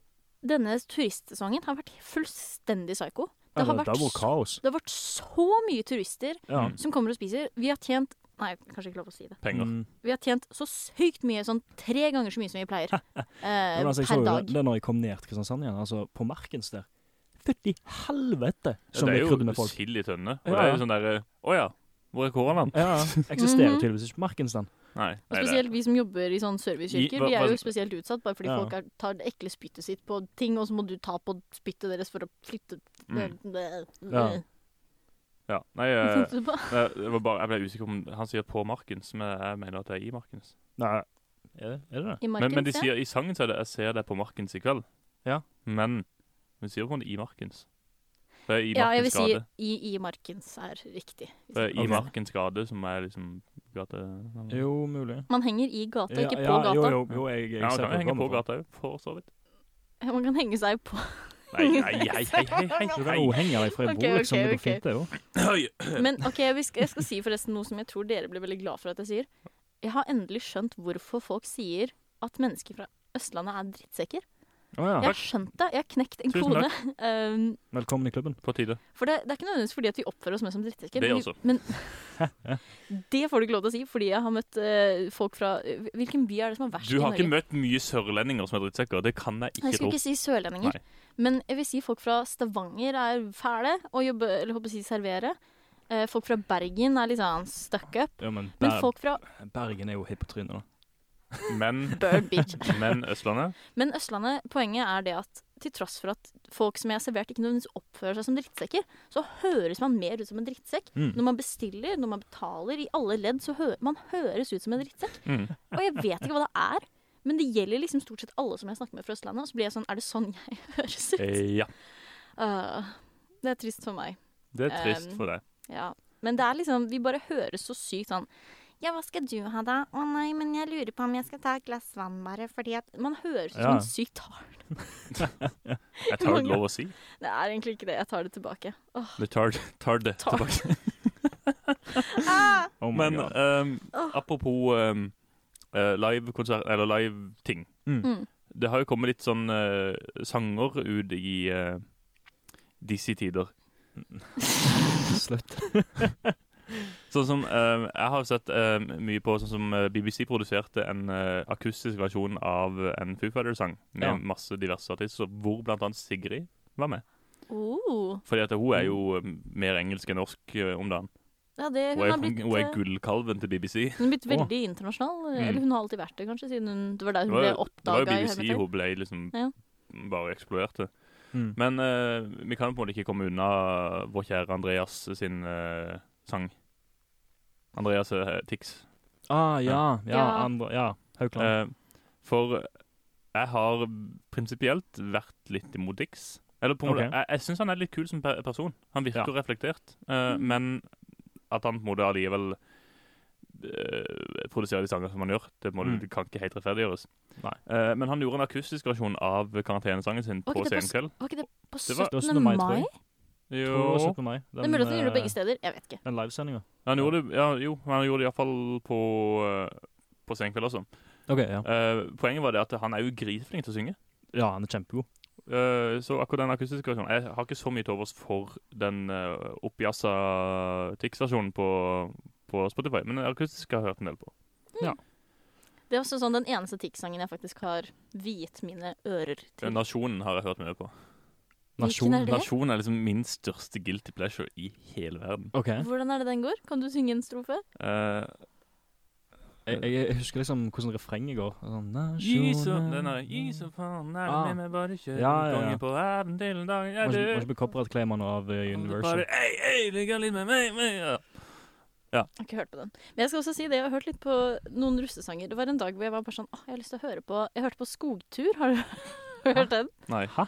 denne turistsesongen har vært fullstendig psyko.
Det,
Det har
det,
vært
har vært kaos.
Det har vært så mye turister
Ja.
Mm.
som kommer og spiser. Vi har tjent Nei, kanskje ikke lov å si det.
Penger.
Mm.
Vi har tjent så sykt mye, sånn tre ganger så mye som vi pleier. Eh,
Men altså, jeg så
per
jo
dag.
det, det når jeg kom ned til Kristiansand igjen, altså på Markens der. Fytti helvete som
det
vi
er
krydder med
jo
folk.
sild i tønne. Og
Ja,
det er
ja.
jo sånn derre Å ja, hvor er koronaen?
Ja, ja. Eksisterer
Mhm.
tydeligvis ikke på Markens, den.
Nei.
Og
nei, det-
spesielt vi som jobber i sånn serviceyrker.
Gi- hva-
Vi er jo
hva-
spesielt utsatt bare fordi
Ja.
folk er, tar det ekle spyttet sitt på ting, og så må du ta på spyttet deres for å flytte
Mm.
Ja.
Ja. Nei, eh,
Tenkte du på?
Nei, Det var bare, jeg ble usikker om Han sier 'på Markens', men jeg mener at det er i Markens.
Nei, er det er det? det?
I
Men,
marken,
men de
se.
sier i sangen så er det 'jeg ser deg på Markens i kveld'.
Ja.
Men hun sier på en måte 'i Markens'. Det er i
Ja, jeg vil
Markens
si
gate.
i, i markens er riktig.
Det er i
Ok.
Markens gate som er liksom gatenavnet.
Jo, mulig.
Man henger i gata, ikke på
ja,
gata.
Jo, jo, jo jeg, jeg
Ja, han
ser
kan henge på
programmet for.
gata òg, for så vidt.
Man kan henge seg på.
Nei, nei, hei, hei, hei, hei,
Du kan
hei.
jo henge deg fra i
Ok,
bordet, liksom.
ok,
Det går
ok.
fint, det jo.
Oi.
Men ok, jeg skal, jeg skal si forresten noe som jeg tror dere blir veldig glad for at jeg sier. Jeg har endelig skjønt hvorfor folk sier at mennesker fra Østlandet er drittsekker.
Å ja.
Jeg har skjønt det. Jeg har knekt en
Tusen
kode. Um,
Velkommen i klubben.
På tide.
for det, det er ikke nødvendigvis fordi at vi oppfører oss mer som drittsekker.
Det
men vi-
også.
Men det får du ikke lov til å si, fordi jeg har møtt eh, folk fra Hvilken by er det som er verst
Du
i
har
Norge?
ikke møtt mye sørlendinger som er drittsekker. Det kan jeg
jeg
ikke
skal
tro.
ikke si sørlendinger,
Nei.
men jeg vil si folk fra Stavanger er fæle og jobber, eller håper å si servere. Eh, folk fra Bergen er litt sånn stuck up.
Ja, men,
Men
Ber
folk fra
Bergen er jo hipp på trynet, da.
Men,
Bird Beach
men Østlandet
Men Østlandet, poenget er det at til tross for at folk som jeg har servert, ikke nødvendigvis oppfører seg som drittsekker, så høres man mer ut som en drittsekk.
Mm.
Når man bestiller, når man betaler, i alle ledd, så hø man høres ut som en drittsekk.
mm.
Og jeg vet ikke hva det er, men det gjelder liksom stort sett alle som jeg snakker med fra Østlandet. Og så blir jeg sånn Er det sånn jeg høres ut?
Eh, Ja.
Ah, det er trist for meg.
Det er trist
Um,
for deg.
Ja. Men det er liksom Vi bare høres så sykt sånn ja, hva skal du ha da? Å nei, men jeg lurer på om jeg skal ta et glass vann bare, fordi at Man sånn høres ut som
Ja.
en syk tar.
Jeg tar det lov å si.
Det er egentlig ikke det. Jeg tar det tilbake. Åh.
Det tar, tar det
Tar-
tilbake.
Oh my
Men
God.
ehm, apropos ehm, eh, live-konsert, eller live-ting.
Mm.
Mm.
Det har jo kommet litt sånn eh, sanger ut i eh, disse tider.
Mm.
Slutt.
Sånn som ehm, Jeg har sett ehm, mye på sånn som eh, BBC produserte en eh, akustisk versjon av en Foo Fighters-sang med
Ja.
masse diverse artister, hvor blant annet Sigrid var med.
Oh.
Fordi at hun er jo eh, mer engelsk enn norsk eh, om dagen.
Mm. Ja, det, hun,
Hun er,
har blitt,
hun er
eh,
gullkalven til BBC.
hun har blitt
Å.
veldig internasjonal. eh,
Mm.
Eller hun har alltid vært det, kanskje, siden hun, det var der hun
Det var-
ble
det var
oppdaga.
jo BBC hun ble liksom
Ja.
bare eksploderte.
Mm.
Men eh, vi kan på en måte ikke komme unna vår kjære Andreas sin eh, sang. Andreas eh, Tix.
Ah, ja. Ja,
Ja.
andre, ja. Haukeland.
Eh, for jeg har prinsipielt vært litt imot Tix. Eller på en måte,
Ok.
Jeg, jeg syns han er litt kul som per person. Han virker
Ja.
reflektert. eh,
Mm.
Men at han på en måte allikevel eh, produserer de sanger som han gjør, det, på en måte-
Mm.
det kan ikke helt rettferdiggjøres.
Nei.
Eh, men han gjorde en akustisk versjon av karantenesangen sin
Var
på
ikke det på
Senkveld.
Var ikke det på
Det var-
17.
det var 17. mai,
mai?
tror jeg. Tror det var 17. mai.
Det er mulig at hun gjorde det
eh,
begge steder. Jeg vet ikke.
Den livesendinga.
Han gjorde det, ja, jo, han gjorde det iallfall på, eh, på Senkveld også.
OK, ja.
Eh, poenget var det at han er jo grisflink til å synge.
Ja, han er kjempegod.
Eh, så akkurat den akustiske versjonen Jeg har ikke så mye til overs for den uh, oppjassa Tix-versjonen på, på Spotify, men den akustiske har jeg hørt en del på.
Det er også sånn den eneste TIX-sangen jeg faktisk har viet mine ører til.
Nasjonen har jeg hørt mye på.
Hvilken er
Nasjon.
det?
Nasjonen er liksom min største guilty pleasure i hele verden.
OK.
Hvordan er det den går? Kan du synge en strofe?
Eh,
Jeg, jeg, jeg husker liksom hvordan refrenget går. Sånn,
Gi så
nasjonen-
Den derre Gi så faen, er
Ah.
det med meg bare kjør
Ja, ja, ja.
konge på hæren til en dag
Må ikke-
er
må
død.
ikke bli copyright-claima nå av eh, Universal.
Bare ei, ei, ligger litt med meg, meg. Ja.
Jeg har ikke hørt på den. Men jeg skal også si det, jeg har hørt litt på noen russesanger. Det var en dag hvor jeg var bare sånn Åh, jeg har lyst til å høre på Jeg hørte på Skogtur. Har du har du hørt den?
Nei.
Hæ?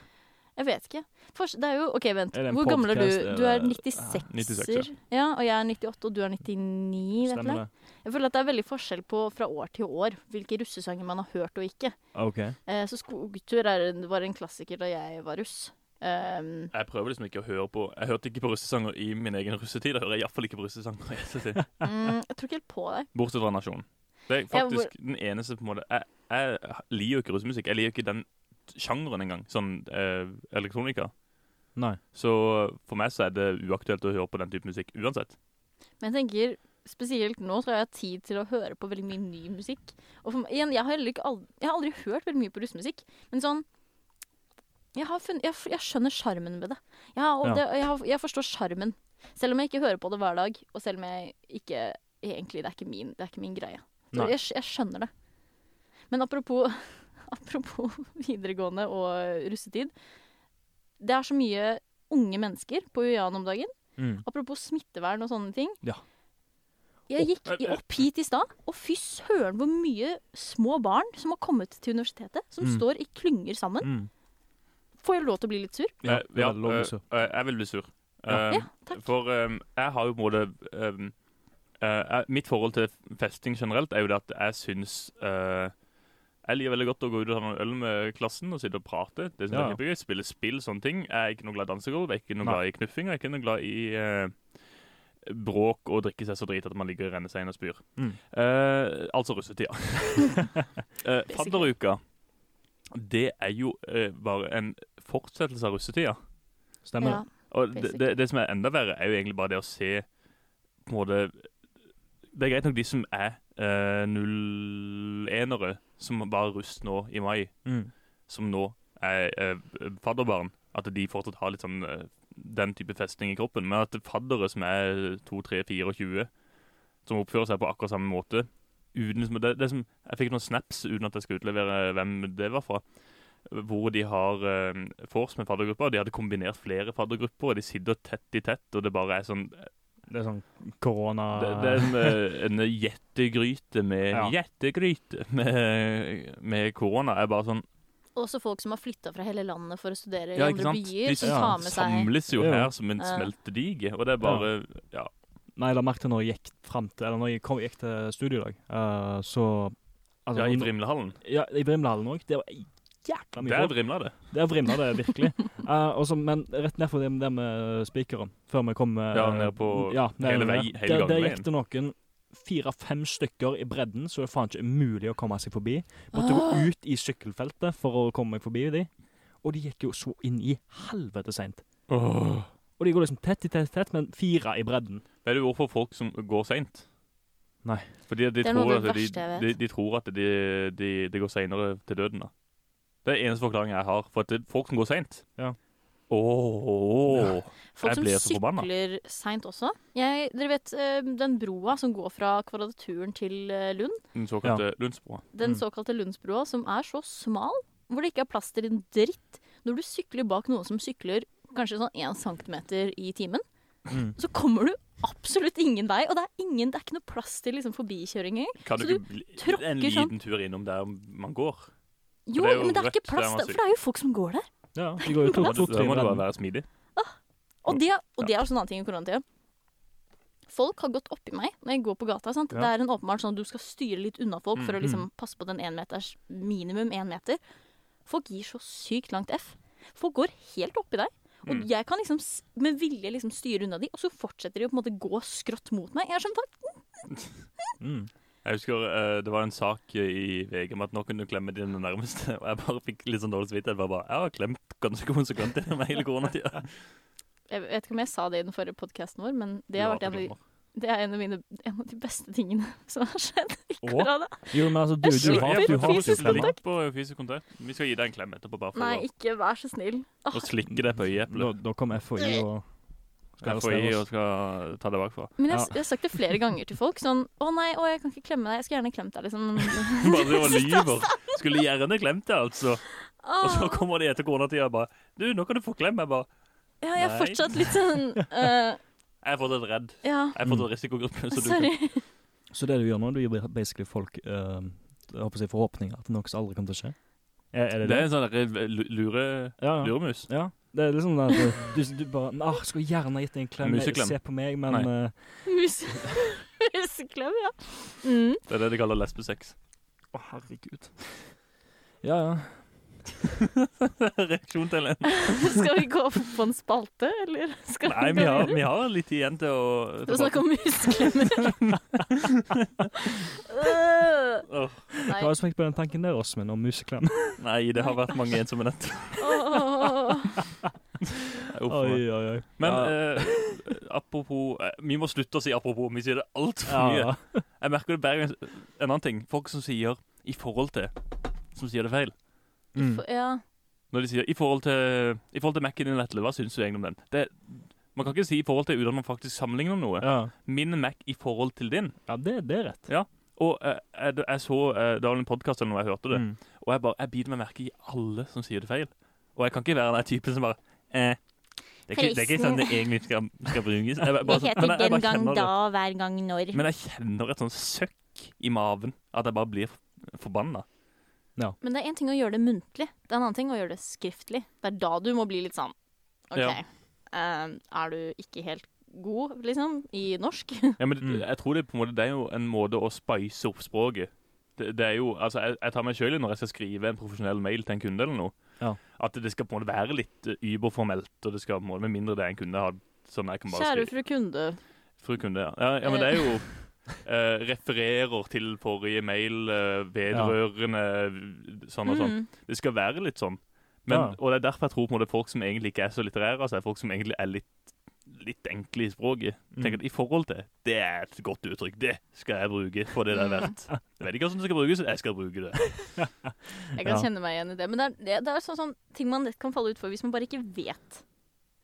Jeg vet ikke. Fors- det er jo OK, vent.
Er det en
Hvor gammel er du?
podcast,
Du er
eller-
96-er.
96,
ja, og jeg er 98, og du er 99. vet du
Stemmer
det?
det?
Jeg føler at det er veldig forskjell på fra år til år hvilke russesanger man har hørt og ikke.
OK.
Eh, så Skogtur er, en- var en klassiker da jeg var russ. Um,
Jeg prøver liksom ikke å høre på Jeg hørte ikke på russesanger i min egen russetid. Jeg hører iallfall ikke på russesanger i ettertid.
mm, jeg tror ikke helt på deg.
Bortsett fra Nasjonen. Det er
Ja, hvor-
faktisk den eneste på en måte Jeg, jeg liker jo ikke russemusikk. Jeg liker jo ikke den sjangeren engang. Sånn eh, elektronika.
Nei.
Så for meg så er det uaktuelt å høre på den type musikk uansett.
Men jeg tenker spesielt nå så har jeg tid til å høre på veldig mye ny musikk. Og for, meg- igjen, jeg har, heller ikke aldri, jeg har aldri hørt veldig mye på russemusikk, men sånn Jeg, har funnet, jeg, f- jeg skjønner sjarmen ved det. Jeg, har, og
Ja.
det, jeg, har, jeg forstår sjarmen. Selv om jeg ikke hører på det hver dag, og selv om jeg ikke Egentlig, det er ikke min, det er ikke min greie. Så
Nei.
jeg, skj- jeg skjønner det. Men apropos, apropos videregående og russetid. Det er så mye unge mennesker på UiA-en om dagen.
Mm.
Apropos smittevern og sånne ting.
Ja. eh,
Jeg gikk
Opp-
i- opp hit i stad, og fy søren hvor mye små barn som har kommet til universitetet, som
Mm.
står i klynger sammen.
Mm.
Får jeg lov til å bli litt sur?
Ja,
Eh,
det er lov å bli sur.
eh, eh, jeg vil bli sur.
Ja.
Eh,
Ja, takk.
For eh, jeg har jo på en måte eh, eh, jeg- Mitt forhold til festing generelt er jo det at jeg syns eh, Jeg liker veldig godt å gå ut og ta noen øl med klassen og sitte og prate. Det synes jeg
Ja.
er kjempegøy. Spille spill, sånne ting. Jeg er ikke noe glad i dansegulv, jeg er ikke noe
Nei.
glad i knuffing, og jeg er ikke noe glad i eh, bråk og drikke seg så drit at man ligger og renner seg inn og spyr.
Mm.
Eh, altså russetida. Eh, fadderuka, det er jo eh, bare en fortsettelse av russetida.
Stemmer det.
Ja.
Og det, det, det som er enda verre, er jo egentlig bare det å se på en måte Det er greit nok de som er eh, 01-ere, som var russ nå i mai,
Mm.
som nå er eh, fadderbarn, at de fortsatt har litt sånn eh, den type festing i kroppen. Men at faddere som er 2, 3, 24, som oppfører seg på akkurat samme måte uten, liksom- det, det som, Jeg fikk noen snaps uten at jeg skulle utlevere hvem det var fra. Hvor de har eh, vors med faddergrupper. De hadde kombinert flere faddergrupper, og de sitter tett i tett. og Det bare er sånn,
Det er sånn korona...
det, det er en, eh, en gjettegryte med
Ja.
Gjettegryte med, med korona. er bare sånn
Også folk som har flytta fra hele landet for å studere
Ja,
i andre
ikke sant?
byer,
De
som
ja,
tar med seg
samles jo
Ja.
her som en
Ja.
smeltedige, og det er bare ja.
Nei, jeg la merke til når jeg gikk frem til, eller når jeg kom, gikk til studio i dag, eh, så... altså,
ja, i
nå-
Vrimlehallen.
Ja, i Vrimlehallen også. Det var jækla mye
Der
folk.
vrimla det.
Der vrimla det virkelig. Eh, og så- men rett ned for det, det med spikeren, før vi kom eh,
Ja, ned på
ja,
hele vei-
ned.
hele
der, der
gangveien.
gikk det noen fire-fem stykker i bredden, så det faen ikke er mulig å komme seg forbi. Måtte
Ah.
gå ut i sykkelfeltet for å komme meg forbi de. Og de gikk jo så inn i helvete seint. Og de går liksom tett i tett, tett, men fire i bredden.
Vet du hvorfor folk som går seint?
Nei.
Fordi de
Det er noe
tror
av det
at de,
verste jeg vet.
de, de tror at det de, de går seinere til døden, da. Det er eneste forklaringen jeg har. For at det er folk som går seint
Ja.
Ååå.
folk
Jeg
som
blir så forbanna.
sykler seint også. Jeg, dere vet eh, den broa som går fra Kvadraturen til eh, Lund?
Den såkalte Lundsbroa.
Den
Mm.
såkalte Lundsbroa, som er så smal, hvor det ikke er plass til en dritt. Når du sykler bak noen som sykler kanskje sånn én centimeter i timen,
Mm.
så kommer du absolutt ingen vei, og det er, ingen, det er ikke noe plass til liksom, forbikjøring engang.
Kan
Så
du
du
ikke bli
tråkker
en
sånn.
liten tur innom der man går?
Jo,
det er jo
men det er
rødt
ikke plass
der man
der, for det er jo folk som går der.
Ja, de går jo
Da må
to,
du
to,
da
tre i
må du
bredden.
bare være smidig.
Og det, og det er også en annen ting i koronatida. Folk har gått oppi meg når jeg går på gata. Sant?
Ja.
Det er en åpenbart sånn at du skal styre litt unna folk for å
Mhm.
liksom passe på den en meters, minimum én meter. Folk gir så sykt langt F. Folk går helt oppi deg. Og
Mm.
jeg kan liksom s- med vilje liksom styre unna de, og så fortsetter de å på en måte gå skrått mot meg. Jeg er sånn, hva?
Mm.
Jeg husker eh, det var en sak i VG om at nå kunne du klemme dine nærmeste. Og jeg bare fikk litt sånn dårlig samvittighet. Jeg, bare, jeg har klemt ganske konsekvent gjennom hele koronatida.
Jeg vet ikke om jeg sa det i den forrige podkasten vår, men det har vært
Du
en av,
hater
de- det er en, av mine, en av de beste tingene som har skjedd i
Åh.
korona.
Jo, men altså, du,
Jeg
du har,
slipper
du har
fysisk
sykler.
kontakt.
På fysisk kontakt. Vi skal gi deg en klem etterpå, bare for
Nei, ikke vær så snill.
å, å slikke deg på
Da,
øyeeplet.
da kom FHI og Skal
FHI
arrestere
og
oss.
skal ta det bakfra.
Men jeg,
Ja.
jeg har sagt det flere ganger til folk. Sånn 'Å nei, å, jeg kan ikke klemme deg. Jeg skulle gjerne klemt deg', liksom.
Bare driver og lyver. Skulle gjerne glemt det, altså. Og så
Åh.
kommer de etter koronatida og bare Du, nå kan du få klem. Jeg bare
Ja, jeg er
Nei.
fortsatt litt sånn eh,
Jeg er fortsatt redd.
Ja,
Jeg er fortsatt
Mm.
risikogruppe. Så du kan
sorry.
Så det du gjør nå, du gir basically folk eh, jeg håper å si forhåpninger til noe som aldri kommer til å skje? Er, er det
Det
det?
er en sånn derre lu- lure,
ja, ja.
luremus.
ja. Det er liksom det at du, du bare ah, 'Skulle gjerne gitt deg en klem.
Museklem.
Se på meg, men
Nei.
eh,
Mus- Museklem, ja. Mm.
Det er det de kaller lesbesex.
Å, herregud. Ja, ja.
Reaksjon til en
Skal vi gå opp på en spalte, eller? Skal
Nei, vi har, vi har litt igjen til å
Du snakker om museklemmer. Øh,
Åh,
Nei.
Hva har du tenkt på den tanken der, Åsmund, om museklem?
Nei, det har vært mange ensomme nett.
Åh.
Uff, meg.
oi, oi.
Men
ja.
eh, apropos eh, Vi må slutte å si apropos. Vi sier det altfor mye.
Ja.
Jeg merker det bare en en annen ting. Folk som sier 'i forhold til', som sier det feil.
Mm.
Ja.
Når de sier 'i forhold til, i forhold til Mac-en din, Vetle', hva syns du egentlig om den? Det, man kan ikke si 'i forhold til' uten at man faktisk sammenligner noe.
Ja.
Min Mac i forhold til din.
ja, det, det er rett.
Og eh, jeg, jeg så eh, Det var en podkast eller noe jeg hørte det,
Mm.
og jeg bare, jeg biter meg merke i alle som sier det feil. Og jeg kan ikke være den der typen som bare eh, det er, ikke, det er ikke sånn det egentlig skal, skal brukes. Jeg, bare- sånn- men jeg- jeg bare kjenner det.
hver gang når.
Men jeg kjenner et sånn søkk i maven. At jeg bare blir forbanna.
Men det er én ting å gjøre det muntlig, det er en annen ting å gjøre det skriftlig. Det er da du må bli litt sånn OK,
Ja.
eh, er du ikke helt god, liksom, i norsk?
Ja, men
Mm.
jeg tror det, er på en måte, det er jo en måte å spice opp språket. Det, det er jo, altså, jeg, jeg tar meg sjøl i når jeg skal skrive en profesjonell mail til en kunde eller noe,
Ja.
at det skal på en måte være litt eh, überformelt. og det skal på en måte, Med mindre det er en kunde jeg har sånn jeg kan bare
Kjære
skrive.
fru kunde.
Fru kunde, ja. ja. Ja, men det er jo eh, refererer til forrige mail eh, vedrørende sånn og sånn.
Mm.
Det skal være litt sånn. Men,
Ja.
Og det er derfor jeg tror på en måte folk som egentlig ikke er så litterære, altså er folk som egentlig er litt, litt enkle i språket. Tenk at i forhold til, det er et godt uttrykk. Det skal jeg bruke for det det er verdt. Jeg vet ikke hvordan det skal brukes, jeg skal bruke det.
Jeg kan
Ja.
kjenne meg igjen i det. Men det er, det, det er sånn, sånn ting man lett kan falle utfor hvis man bare ikke vet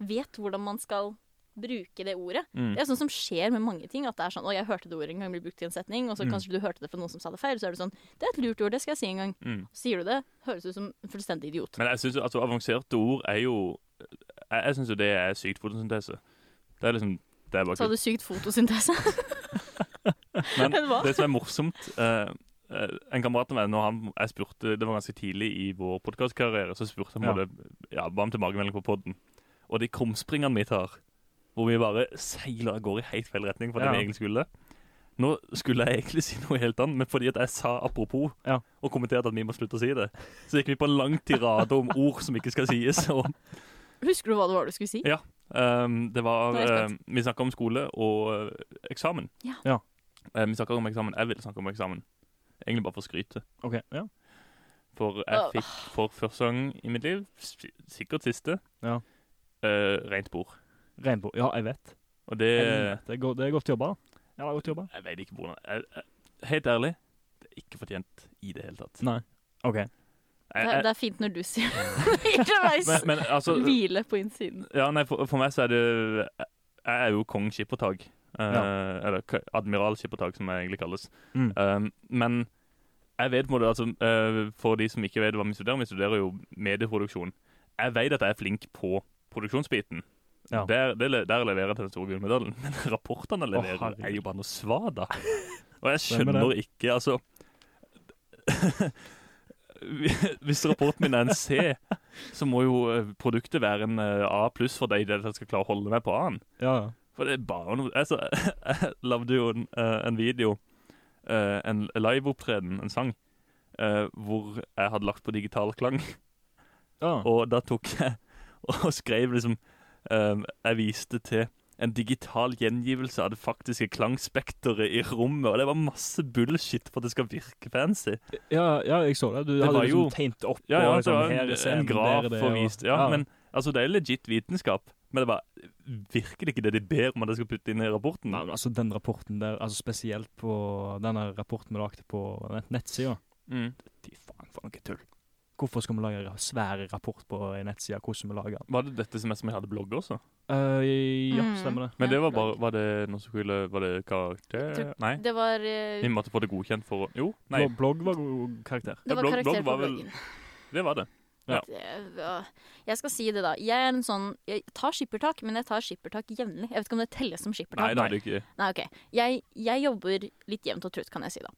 Vet hvordan man skal bruke det ordet.
Mm.
Det er sånn som skjer med mange ting. At det er sånn 'Å, jeg hørte det ordet en gang bli brukt i en setning', og så
Mm.
kanskje du hørte det fra noen som sa det feil, så er det sånn 'Det er et lurt ord, det skal jeg si en gang'.
Mm.
Sier du det, høres du ut som en fullstendig idiot.
Men jeg synes jo, altså, avanserte ord er jo Jeg, jeg syns jo det er sykt fotosyntese. Det er liksom det er bare
Så
kult.
hadde du sykt fotosyntese.
Men
Men hva?
det som er morsomt eh, eh, En kamerat av meg, når han, jeg spurte, det var ganske tidlig i vår podkastkarriere, så spurte han
Ja.
både ja, ba om tilbakemelding på podden. Og de krumspringene vi tar, hvor vi bare seiler av gårde i helt feil retning for det
Ja.
vi egentlig skulle Nå skulle jeg egentlig si noe helt annet, men fordi at jeg sa apropos
Ja.
og kommenterte at vi må slutte å si det, så gikk vi på en lang tirade om ord som ikke skal sies. og
Husker du hva det var du skulle si?
Ja. Um, det var
Nå er jeg
eh,
spent.
Vi snakka om skole og eh, eksamen.
Ja.
Ja.
Eh, vi snakka om eksamen. Jeg ville snakke om eksamen. Egentlig bare for å skryte.
OK. Ja.
For jeg
Åh.
fikk for første gang i mitt liv, s- sikkert siste,
Ja.
eh, rent bord.
Regnbue. Ja, jeg vet.
Og det
Jeg vet. Det, er godt, det er godt jobba. da. Ja, det er godt jobba.
Jeg vet ikke hvordan jeg, jeg, Helt ærlig, det er ikke fortjent i det hele tatt.
Nei. OK.
Det,
Jeg,
er-
jeg,
det er fint når du sier det. Ikke veis.
eh, men, men altså
Hvile på innsiden.
Ja, nei, for, for meg så er det Jeg er jo kong skippertak. eh, Eller k- admiral skippertak, som jeg egentlig kalles.
Mm.
Um, men jeg vet på en måte, altså, eh, for de som ikke vet hva vi studerer, vi studerer jo medieproduksjon. Jeg vet at jeg er flink på produksjonsbiten.
Ja.
Der, det le- der leverer jeg til den store gullmedaljen. Men rapportene
Å,
jeg leverer,
herregud.
er jo bare noe svada. Og jeg
Hvem er
skjønner ikke, altså Hvis rapporten min er en C, så må jo eh, produktet være en eh, A pluss for deg i det at jeg skal klare å holde meg på A-en.
Ja, ja.
For det er bare noe altså, Jeg lagde jo en, eh, en video, eh, en liveopptreden, en sang, eh, hvor jeg hadde lagt på digital klang.
ja.
Og da tok jeg og skrev liksom eh, Jeg viste til en digital gjengivelse av det faktiske klangspekteret i rommet. Og det var masse bullshit for at det skal virke fancy.
ja, ja jeg så det. Du
Det
hadde
var
liksom
jo-
tegnet opp
Ja, ja,
og
det
liksom,
var
her er
eh, en,
scenen,
en graf
der er det,
og
og-
vist. Ja, men altså, det er legit vitenskap. Men det var virkelig ikke det de ber om at jeg skal putte inn i rapporten.
Nei, men altså Den rapporten der, altså spesielt på den rapporten vi lagde på nett- nettsida
Mm.
Fy faen, for noe tull. Hvorfor skal vi lage en svær rapport på en nettside? Hvordan vi lager den?
Var det dette semesteret vi hadde blogg også?
Eh, ja,
Mm.
stemmer det.
Men
Ja,
det var bare
blogg.
Var det noe som skulle Var det karakter
Tror-
Nei,
Det var eh,
vi måtte få det godkjent for å- Jo, nei.
Blogg- Blogg var god karakter.
Det var
blogg-
karakter
blogg
på
var vel-
bloggen.
Det var det. ja.
Det var- Jeg skal si det, da. Jeg er en sånn Jeg tar skippertak, men jeg tar skippertak jevnlig. Jeg vet ikke om det telles som
Nei,
skippertak.
det hadde du ikke.
Nei, ok. Jeg, jeg jobber litt jevnt og trutt, kan jeg si da.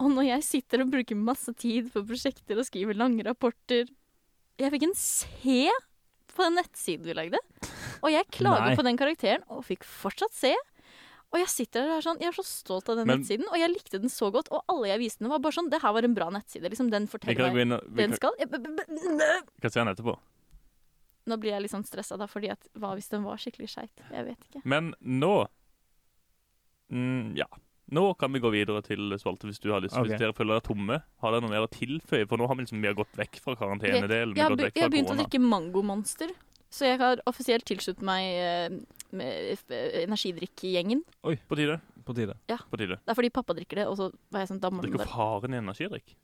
Og når jeg sitter og bruker masse tid på prosjekter og skriver lange rapporter Jeg fikk en C på den nettsiden vi lagde. Og jeg klager
Nei.
på den karakteren, og fikk fortsatt C. Og jeg sitter der og er sånn, jeg er så stolt av den
Men-
nettsiden, og jeg likte den så godt. Og alle jeg viste den, var bare sånn Det her var en bra nettside. liksom Den
Vi kan
forteller
gå
meg
inn og Vi
den
kan,
skal jeg- b- b- b-
kan se den etterpå.
Nå blir jeg litt sånn stressa, da, fordi at hva hvis den var skikkelig skeit? Jeg vet ikke.
Men nå mm, Ja. Nå kan vi gå videre til Svolte, hvis du har lyst.
Ok.
Hvis dere føler dere tomme, har dere noe mer å tilføye? For nå har vi liksom vi har gått vekk fra karantenedelen. Vi
Jeg
har
har,
gått
be-
vekk
jeg
fra
har begynt å
korona.
drikke mangomonster, så jeg har offisielt tilsluttet meg eh, med f- eh, energidrikkgjengen.
På tide.
På tide.
På tide.
Det er fordi pappa drikker det, og så var jeg sånn, da må du
Drikker
bare
faren i energidrikk?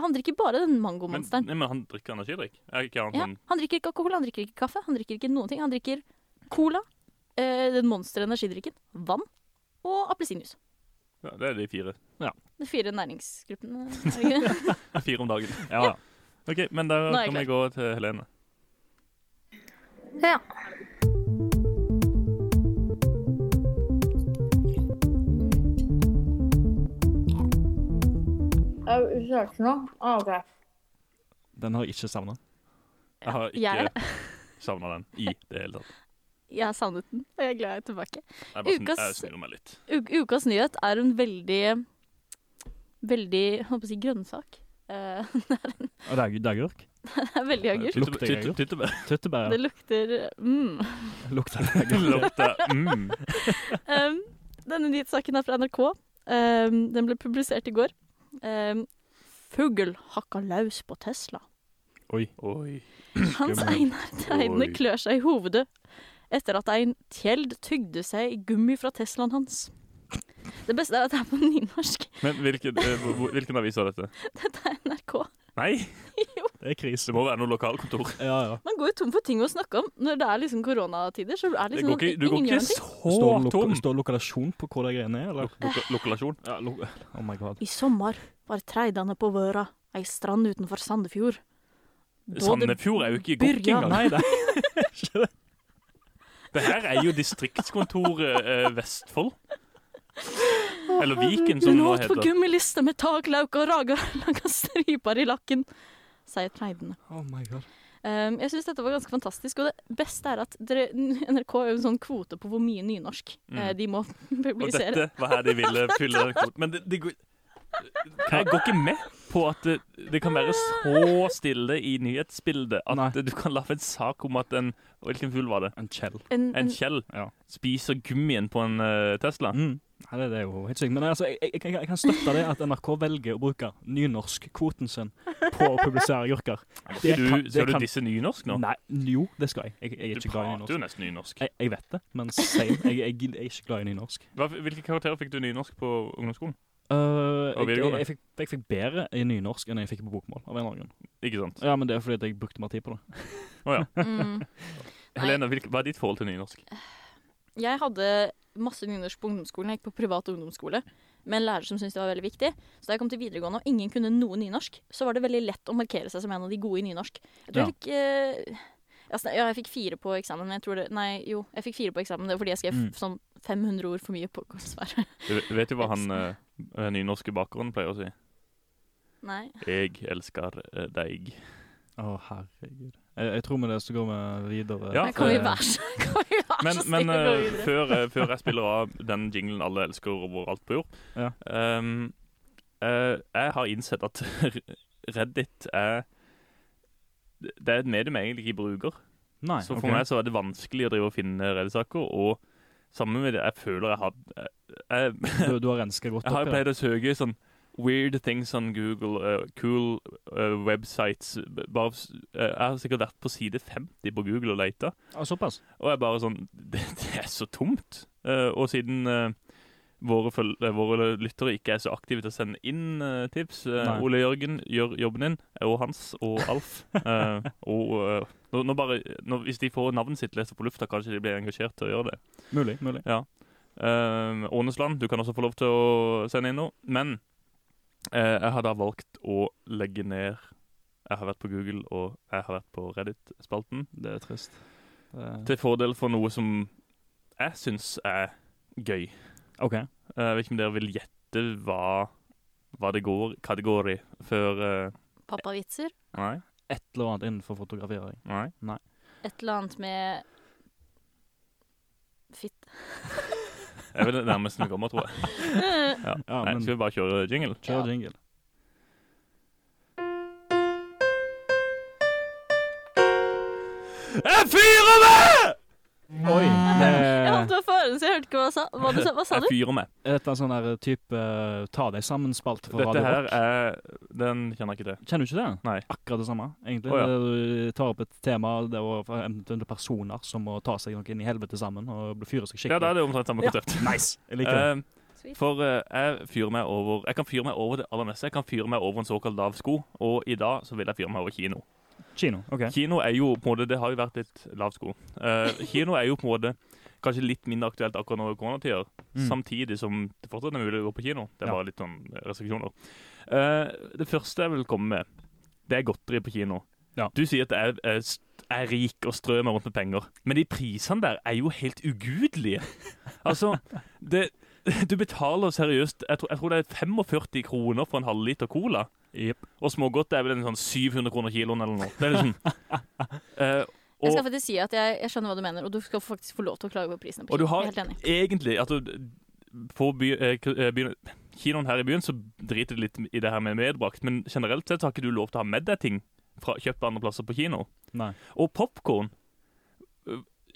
Han drikker bare den
Men,
mangomonsteren.
nei, men han drikker energidrikk? Er ikke han
Ja,
sånn
han drikker ikke alkohol, han drikker ikke kaffe, han drikker ikke noen ting. Han drikker cola, eh, den monster energidrikken, vann og appelsinjuice.
ja, Det er de fire.
De fire næringsgruppene. er det ikke det?
Fire om dagen.
Ja, ja.
OK, men da
Nå er jeg
kan vi gå til Helene.
Ja.
Er du sulten nå? Ah, ok.
Den har jeg ikke savna.
Jeg har
Jeg,
ikke savna den i det hele tatt.
jeg har savnet den, og jeg er glad jeg er tilbake.
Jeg er bare sånn, jeg
Ukas-
snur meg litt.
U ukas nyhet er en veldig Veldig, jeg holdt på å si, grønnsak. Eh,
Og det er, det er agurk.
det er veldig agurk.
Lukter
Tytte-
jeg, jo.
tytte- tyttebær.
Tyttebær
Det lukter mm.
lukter agurk.
Lukter mm.
um, Denne nyhetssaken er fra NRK. Um, den ble publisert i går. Um, Fugl hakka løs på Tesla.
Oi.
Oi.
Hans
Skummelt.
Einar Teine
Oi.
klør seg i hovedet etter at ein tjeld tygde seg i gummi fra Teslaen hans. Det beste er at det er på nynorsk.
Men hvilken, eh, hvor- hvor- hvilken avis var dette?
Dette er NRK.
Nei,
Det er krise.
det må være noe lokalkontor.
Ja, ja.
Man går jo tom for ting å snakke om når det er liksom koronatider. Så er det
Det
liksom
går ikke, du
ingen
går
gjør
ikke
noe.
Står,
så
det
tom.
loka står det lokalisasjon på hvor de greiene er, eller?
Loka- Lokalasjon.
Ja, lo oh my god.
I sommer var treidene på Vøra, ei strand utenfor Sandefjord. Da det-
Sandefjord er jo ikke i Gokk
Byrja.
engang.
Nei, det er ikke det.
Det her er jo distriktskontoret eh, Vestfold. Eller Viken, som
Hun
det nå
åt på
heter.
gummiliste med taklauk og raga laga stryper i lakken, sier treidene.
Oh my god.
Um, jeg syns dette var ganske fantastisk, og det beste er at dere, NRK har jo en sånn kvote på hvor mye nynorsk
Mm.
eh, de må
Og
publisere.
dette var her de ville fylle den kvoten. Men det, det går Jeg går ikke med på at det, det kan være så stille i nyhetsbildet at
Nei.
du kan lage en sak om at en og Hvilken fugl var det?
En kjell.
En,
En
en,
Kjell
Ja.
spiser gummien på en eh, Tesla.
Mm. Nei, det, det er jo helt sykt. Men altså, jeg, jeg, jeg, jeg kan støtte det at NRK velger å bruke nynorskkvoten sin på å publisere agurker. Det
Skal
kan-
du,
det
skal du
kan-
disse nynorsk nå?
Nei, jo, det skal jeg. Jeg, jeg er
Du
ikke glad i
prater
nynorsk.
jo nesten nynorsk.
Jeg, jeg vet det, men same. Jeg, jeg, jeg er ikke glad i nynorsk.
Hva, hvilke karakterer fikk du i nynorsk på ungdomsskolen?
Uh,
Og
jeg, jeg,
videregående?
jeg, fikk, jeg fikk bedre i nynorsk enn jeg fikk på bokmål. av en eller annen grunn.
Ikke sant?
Ja, men Det er fordi at jeg brukte mer tid på det.
mm,
Helene, hvilke, hva er ditt forhold til nynorsk?
Jeg hadde masse nynorsk på ungdomsskolen. Jeg gikk på privat ungdomsskole med en lærer som syntes det var veldig viktig. Så da jeg kom til videregående og ingen kunne noe nynorsk, så var det veldig lett å markere seg som en av de gode i nynorsk. Jeg tror
Ja.
jeg fikk eh, ja, sn- ja, jeg fikk fire på eksamen, men jeg tror det Nei, jo, jeg fikk fire på eksamen. Det var fordi jeg skrev
Mm.
sånn 500 ord for mye på kortsvar.
Du ve- vet jo hva han eh, nynorske bakeren pleier å si?
nei.
Jeg elsker eh, deg.
Å, herregud. Jeg, jeg tror med det så går vi videre.
Ja, eh,
Men kan vi
til-
være så kan vi være
Men,
så
men
snille å gå
eh,
videre?
før, eh, før jeg spiller av den jinglen alle elsker over alt på jord
Ja.
ehm, eh, Jeg har innsett at Reddit er Det er et medium jeg egentlig ikke bruker.
Nei,
Så for
ok.
meg så er det vanskelig å drive og finne Reddit-saker. Og sammen med det, jeg føler jeg har Jeg,
du, du har renska godt
Jeg har
opp i
jo
det.
pleid å søke sånn weird things on Google, eh, cool eh, websites b- bare, s- eh, Jeg har sikkert vært på side 50 på Google og leita,
Ah, såpass.
og jeg bare sånn Det, det er så tomt. Eh, og siden eh, våre, føl- eh, våre lyttere ikke er så aktive til å sende inn eh, tips. Eh,
Nei.
Ole Jørgen gjør jobben din, eh, og Hans og Alf. Eh, og eh, nå, nå bare, nå, Hvis de får navnet sitt lest på lufta, kanskje de blir engasjert til å gjøre det.
Mulig. mulig.
Eh, Ånesland, du kan også få lov til å sende inn noe. Men eh, jeg har da valgt å legge ned Jeg har vært på Google, og jeg har vært på Reddit-spalten.
Det er trist. Det-
Til fordel for noe som jeg syns er gøy.
OK.
Eh, Jeg vet ikke om dere vil gjette hva, hva det går hva det går i før eh,
Pappavitser.
Nei?
Et eller annet innenfor fotografering.
nei.
Et eller annet med Fitt.
Jeg vil det nærmeste vi kommer, tror jeg. Ja.
Ja,
Nei,
men-
skal vi bare kjøre jingle?
Kjør
Ja.
jingle.
Jeg fyrer meg!
Oi!
Jeg
Eh.
holdt
Det
meg for ørene, så jeg hørte ikke hva, jeg sa. hva du sa. Hva sa du?
Jeg fyrer meg.
er dette en sånn der type eh, ta deg sammen-spalte for
Dette
Radio
her
Rock?
er Den kjenner jeg ikke til.
Kjenner du ikke det?
Nei.
Akkurat det samme, egentlig.
Å, ja.
Det- Du tar opp et tema det var for eventuelle personer som må ta seg noe inn i helvete sammen og bli- fyre seg skikkelig.
Ja, da er det omtrent samme
Ja.
konsept.
Nice! Jeg liker det.
Eh, For eh, jeg fyrer meg over Jeg kan fyre meg over det aller meste. Jeg kan fyre meg over en såkalt lav sko, og i dag så vil jeg fyre meg over kino.
Kino. OK.
Kino er jo på en måte Det har jo vært litt lav sko. Eh, kino er jo på en måte kanskje litt mindre aktuelt akkurat nå i koronatider,
Mm.
samtidig som det fortsatt er mulig å gå på kino. Det
Ja.
er bare litt sånn restriksjoner. Eh, det første jeg vil komme med, det er godteri på kino.
Ja.
Du sier at jeg er, er rik og strør meg rundt med penger, men de prisene der er jo helt ugudelige. Altså, det du betaler seriøst jeg tror, jeg tror det er 45 kroner for en halv liter cola. Og smågodt er vel en sånn 700 kroner kiloen eller noe. Det er liksom, Eh,
Jeg skal
og,
faktisk si at jeg, jeg skjønner hva du mener, og du skal faktisk få lov til å klage på prisene. på
og du
kino.
har
Jeg er Helt enig.
egentlig altså, På by, eh, k- eh, byen- kinoen her i byen så driter det litt i det her med medbrakt, men generelt sett så har ikke du lov til å ha med deg ting fra kjøpt andre plasser på kino.
Nei.
Og popkorn.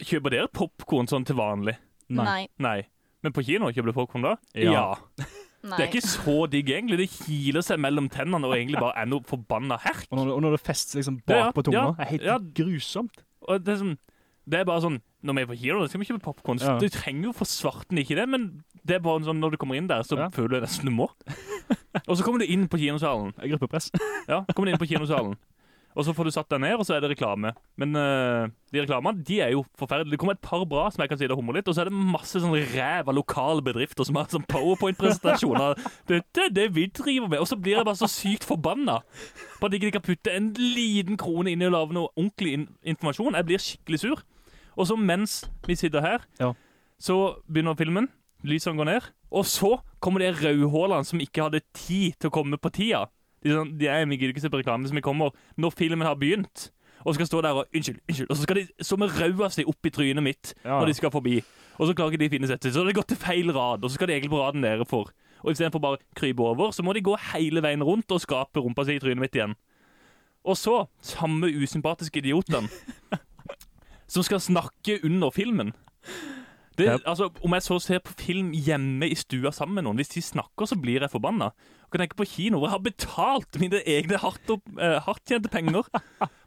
Kjøper dere popkorn sånn til vanlig?
Nei.
Nei.
Nei. Men på kino kjøper du popkorn da?
Ja.
nei.
Det er ikke så digg, egentlig. Det kiler seg mellom tennene og egentlig bare er noe forbanna herk.
Og når, det- og når det fester liksom
Ja, ja,
bak på tunga,
ja,
er helt
ja.
grusomt.
Og det, er sånn, det er bare sånn Når vi er på kino, da skal vi kjøpe popkorn.
Ja.
Du trenger jo for svarten ikke det, men det er bare sånn når du kommer inn der, så
Ja.
føler du nesten du må. Og så kommer du inn på kinosalen.
Gruppepress.
Ja, kommer du inn på kinosalen. Og så får du satt deg ned, og så er det reklame. Men eh, de reklamene de er jo forferdelige. Det kommer et par bra som jeg kan si det hummer litt, og så er det masse sånn ræv av lokale bedrifter som har sånn powerpoint-presentasjoner. Dette er det vi driver med. Og så blir jeg bare så sykt forbanna på at ikke de kan putte en liten krone inn i å lage noe ordentlig in informasjon. Jeg blir skikkelig sur. Og så mens vi sitter her,
Ja.
så begynner filmen. Lysene går ned. Og så kommer de rødhålene som ikke hadde tid til å komme på tida. De, er sånn, de er, vi gidder ikke se på reklame som kommer når filmen har begynt. Og skal stå der og unnskyld, unnskyld. Og så skal de som raua si opp i trynet mitt
Ja.
når de skal forbi. Og så klarer ikke de å finne settet. Så har de gått til feil rad, og så skal de egentlig på raden nedenfor. Og istedenfor bare krype over, så må de gå hele veien rundt og skape rumpa si i trynet mitt igjen. Og så, samme usympatiske idioten som skal snakke under filmen. Det,
Ja.
altså, om jeg så ser på film hjemme i stua sammen med noen, hvis de snakker, så blir jeg forbanna. Jeg kan tenke på kino, hvor jeg har betalt mine egne hardt, opp, eh, hardt tjente penger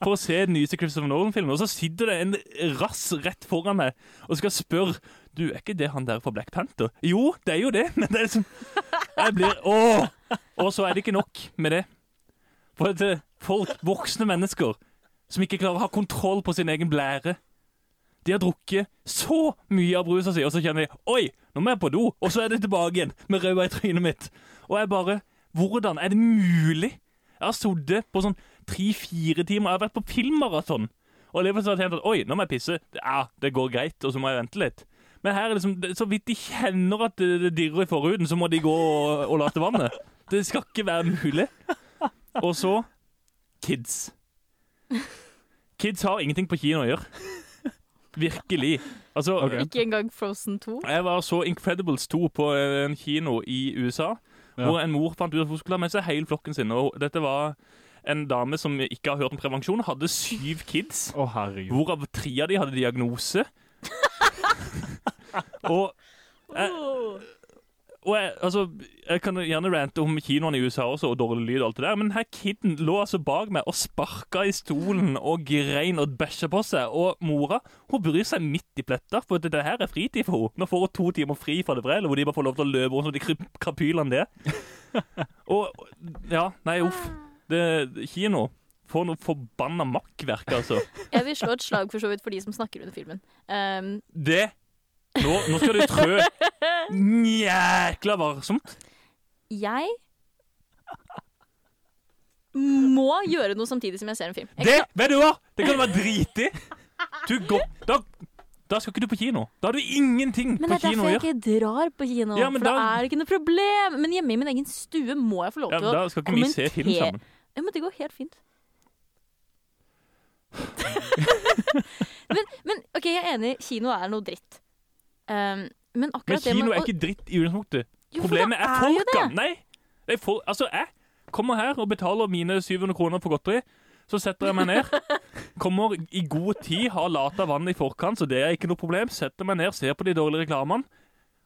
for å se den nyeste Christopher Nolan-filmen, og så sitter det en rass rett foran meg og skal spørre Du, er ikke det han der fra Black Panther? Jo, det er jo det, men det er liksom Jeg blir Åh! Og så er det ikke nok med det. For at eh, folk, voksne mennesker, som ikke klarer å ha kontroll på sin egen blære de har drukket så mye av brusa si, og så kjenner de Oi, nå må jeg på do! Og så er det tilbake igjen med røda i trynet mitt. Og jeg bare Hvordan er det mulig? Jeg har sittet på sånn tre-fire timer. Jeg har vært på filmmaraton. Og eleven har tenkt at Oi, nå må jeg pisse. Ja, det går greit, og så må jeg vente litt. Men her er liksom, det- så vidt de kjenner at det det dirrer i forhuden, så må de gå og, og late vannet. Det skal ikke være mulig. Og så kids. Kids har ingenting på kino å gjøre. Virkelig. Altså,
Ok.
Ikke engang Frozen 2.
jeg var så Incredibles 2 på eh, en kino i USA,
Ja.
hvor en mor fant ut at hun skulle ha med seg hele flokken sin. Og dette var en dame som ikke har hørt om prevensjon, hadde syv kids.
Å, herregud.
Hvorav tre av de hadde diagnose. og,
Åh.
og og jeg, altså, jeg kan gjerne rante om kinoene i USA også, og dårlig lyd og alt det der, men her kiden lå altså bak meg og sparka i stolen og grein og bæsja på seg. Og mora hun bryr seg midt i pletta, for det, det her er fritid for henne. Nå får hun to timer fri fra det brelet, hvor de bare får lov til å løpe rundt som de kryp- krapylene det. og Ja, nei, uff. Det, kino. For noe forbanna makkverk, altså.
Jeg vil slå et slag for så vidt for de som snakker under filmen. Ehm,
Det Nå, nå skal du trø jækla varsomt.
jeg må gjøre noe samtidig som jeg ser en film. Jeg
Det,
kan-
vet du hva? Det kan du være driti. Du går, da, da skal ikke du på kino. Da har du ingenting
men det
på
er
kino
derfor
å
jeg
gjøre.
ikke drar på kino.
Ja, men
for da er
da-
det ikke noe problem. Men hjemme i min egen stue må jeg få lov
Ja,
til
men da
å
skal ikke vi se film
kommenter-
sammen.
Ja, men det går helt fint. men, men OK, jeg er enig, kino er noe dritt. Ehm, men akkurat
Men
det med
kino er
å-
ikke dritt i utgangspunktet.
Jo, for det
Problemet er
jo
folka.
det.
Nei. Det er folk, altså, jeg kommer her og betaler mine 700 kroner for godteri. Så setter jeg meg ned. Kommer i god tid, har lata vann i forkant, så det er ikke noe problem. Setter meg ned, ser på de dårlige reklamene.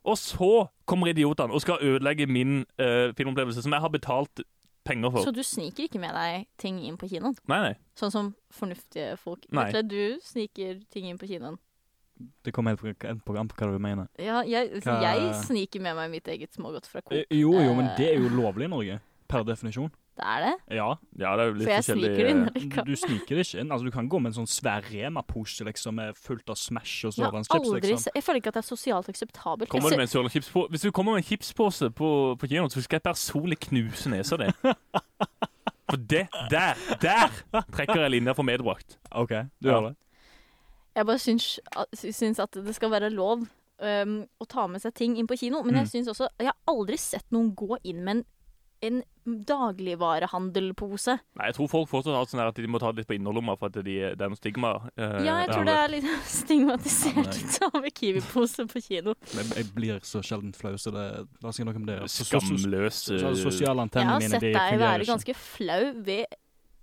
Og så kommer idiotene og skal ødelegge min eh, filmopplevelse, som jeg har betalt penger for.
Så du sniker ikke med deg ting inn på kinoen?
Nei, nei.
Sånn som fornuftige folk.
Nei.
Vetle, du sniker ting inn på kinoen.
Det kommer helt på, på, an på hva du mener.
Ja, jeg, altså,
Hva-
jeg sniker med meg mitt eget smågodt fra
Eh,
Coop.
Eh, Jo, jo, men det er jo lovlig i Norge. Per definisjon.
Det er det.
Ja.
Ja, det er jo litt
For jeg
forskjellig,
sniker det inn.
eh,
eller
Du,
hva?
du sniker det ikke inn. Altså, du kan gå med en sånn svær Rema-pose liksom, med fullt av Smash og
Jeg har
Sørlandschips.
aldri
Liksom.
se- Jeg føler ikke at det er sosialt akseptabelt.
Kommer du
Jeg
med en Sørlands chipspå- Hvis du kommer med en chipspose på, på kinoen, så skal jeg personlig knuse nesa di. For det der, der trekker jeg linja for medbrakt.
OK, du
Ja.
gjør det.
sy- jeg bare syns, syns at det skal være lov øhm, å ta med seg ting inn på kino, men jeg syns også Jeg har aldri sett noen gå inn med en, en dagligvarehandelpose.
Nei, jeg tror folk fortsatt har sånn her at de må ta det litt på innerlomma for at de, det er noe stigma. eh,
Ja, jeg tror det
der.
er litt stigmatisert å ta med Kiwi-pose på kino.
Jeg, jeg blir så sjelden flau, så det la oss si noe om det. Så- så- så-
Eh, Skamløs eh,
så- så- Sosiale
Jeg
antennene
har
mine
sett
de
deg
fungerer
være
ikke.
ganske flau ved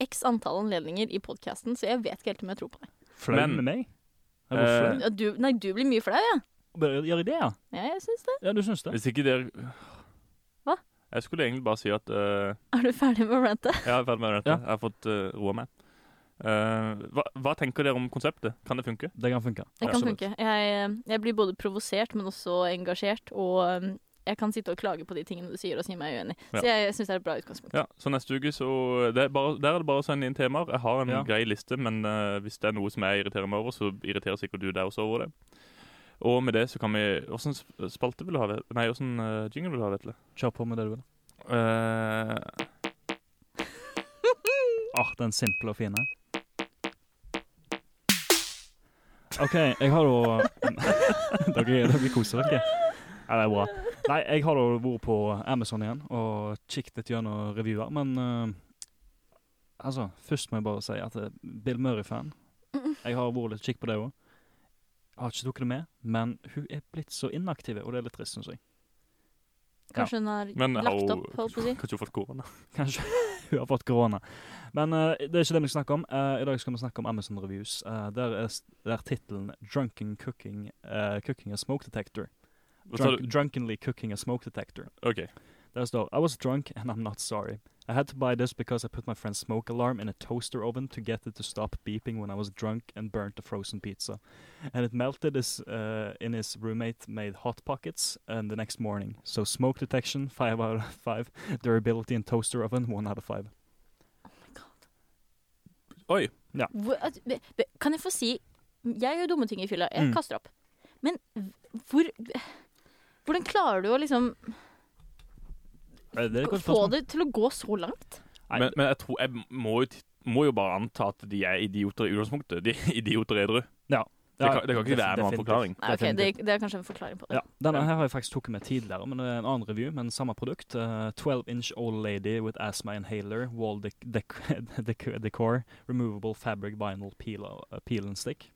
x antall anledninger i podkasten, så jeg vet ikke helt om jeg tror på deg.
Flau
Men-
med meg? Er du
Eh,
flau?
Ja, Du, nei, du blir mye flau, ja.
Bare Gjør jeg det, ja?
ja jeg syns det.
Ja, du syns det?
Hvis ikke dere
Hva?
Jeg skulle egentlig bare si at eh,
Er du ferdig med å rante?
Jeg er ferdig med dette.
Ja.
Jeg har fått eh, roa meg. Eh, hva, hva tenker dere om konseptet? Kan det funke?
Det kan funke.
Det kan
Absolutt.
funke. Jeg, jeg blir både provosert, men også engasjert. Og um, jeg kan sitte og klage på de tingene du sier, og si meg uenig. Så jeg syns det er et bra utgangspunkt.
Ja, så neste uke så det er bare, Der er det bare å sende inn temaer. Jeg har en
Ja.
grei liste, men eh, hvis det er noe som jeg irriterer meg over, så irriterer sikkert du deg også over det. Og med det så kan vi Åssen sp- spalte vil du ha? Vet- Nei, åssen eh, jingle vil du ha, Vetle?
Kjør på med det du vil.
Eh,
Ah, den simple og fine. OK, jeg har da dere, dere koser dere. Ja, det er bra. Nei, jeg har da vært på Amazon igjen og kikket litt gjennom revyer, men eh, Altså, først må jeg bare si at jeg er Bill Murray-fan. Jeg har vært litt kikk på det òg. Har ikke tatt det med, men hun er blitt så inaktiv, og det er litt trist, syns jeg.
Kanskje hun har
men har
lagt
hun
opp, holdt på å si.
kanskje hun har fått korona?
Kanskje hun har fått korona. Men eh, det er ikke det vi snakker om. Eh, I dag skal vi snakke om Amazon Reviews. Eh, der er, s- der tittelen 'Drunken Cooking, eh, cooking a Smoke Detector'.
Hva sa
Drunk,
du?
drunkenly Cooking a Smoke Detector.
OK.
Der står I was drunk and I'm not sorry. I had to buy this because I put my friend's smoke alarm in a toaster oven to get it to stop beeping when I was drunk and burnt a frozen pizza. And it melted his, uh, in his roommate made hot pockets and the next morning. So smoke detection, 5 out of 5. Durability in toaster oven, 1 out of 5.
Oi.
Hvor, at, be- be- kan jeg få si Jeg gjør dumme ting i fylla. Jeg
Mm.
kaster opp. Men v- hvor Hvordan klarer du å liksom
Eh, Det er et godt
få
spørsmål.
det til å gå så langt?
Nei,
Men, men jeg, tror, jeg må, jo, t- må jo bare anta at de er idioter i utgangspunktet. De er idioter edru. Det kan, det kan ikke
def-
være noen annen
definitivt.
forklaring.
Nei, ok, det,
Definitivt.
det er kanskje en forklaring på det.
Ja, Denne her har jeg faktisk tatt med tidligere, men det er en annen review, men samme produkt. Eh, 12 inch old lady with asthma inhaler, wall dec dec dec decor, removable fabric vinyl peel, uh, peel and stick.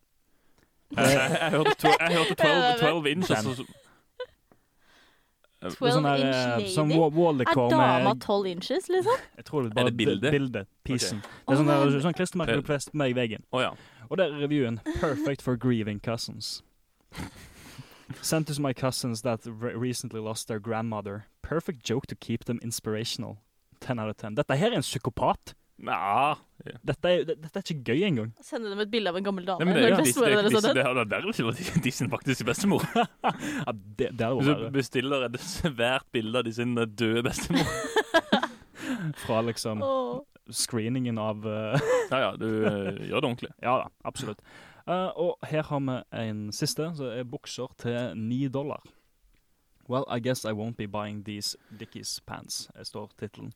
Jeg, jeg, jeg hørte tw- jeg hørte 12, 12 inch, og så
Det er
12
her,
inch
eh,
lady?
Sånn wa- wall
Er
decor
dama
med
12 inches, liksom?
Jeg tror det er
Er
bare
det bildet?
bildet. bildet piecen. Det
Å,
er sånn,
nei,
der-
men-
sånn klistremerke du fester med i veggen.
Å ja.
Og der er reviewen. Perfect for grieving cousins. Sent to my cousins that re recently lost their grandmother. Perfect joke to keep them inspirational. 10 out of 10. Dette her er en psykopat.
Nja
Dette er, det- dette er ikke gøy engang.
Sende dem et bilde av en gammel dame.
Nei, men det,
når
er jo Disney-
bestemora
det,
deres
det,
er død.
det hadde vært verre til å være Disney faktisk bestemor.
Ja, det, det hadde
Hvis
vært
du
verre.
bestiller et svært bilde av de sin eh, døde bestemor.
Fra liksom
Åh.
screeningen av eh,
Ja ja, du eh, gjør det ordentlig.
Ja da, absolutt. Eh, og her har vi en siste, som er bukser til ni dollar. Well, I guess I won't be buying these Dickies pants, eh, står tittelen.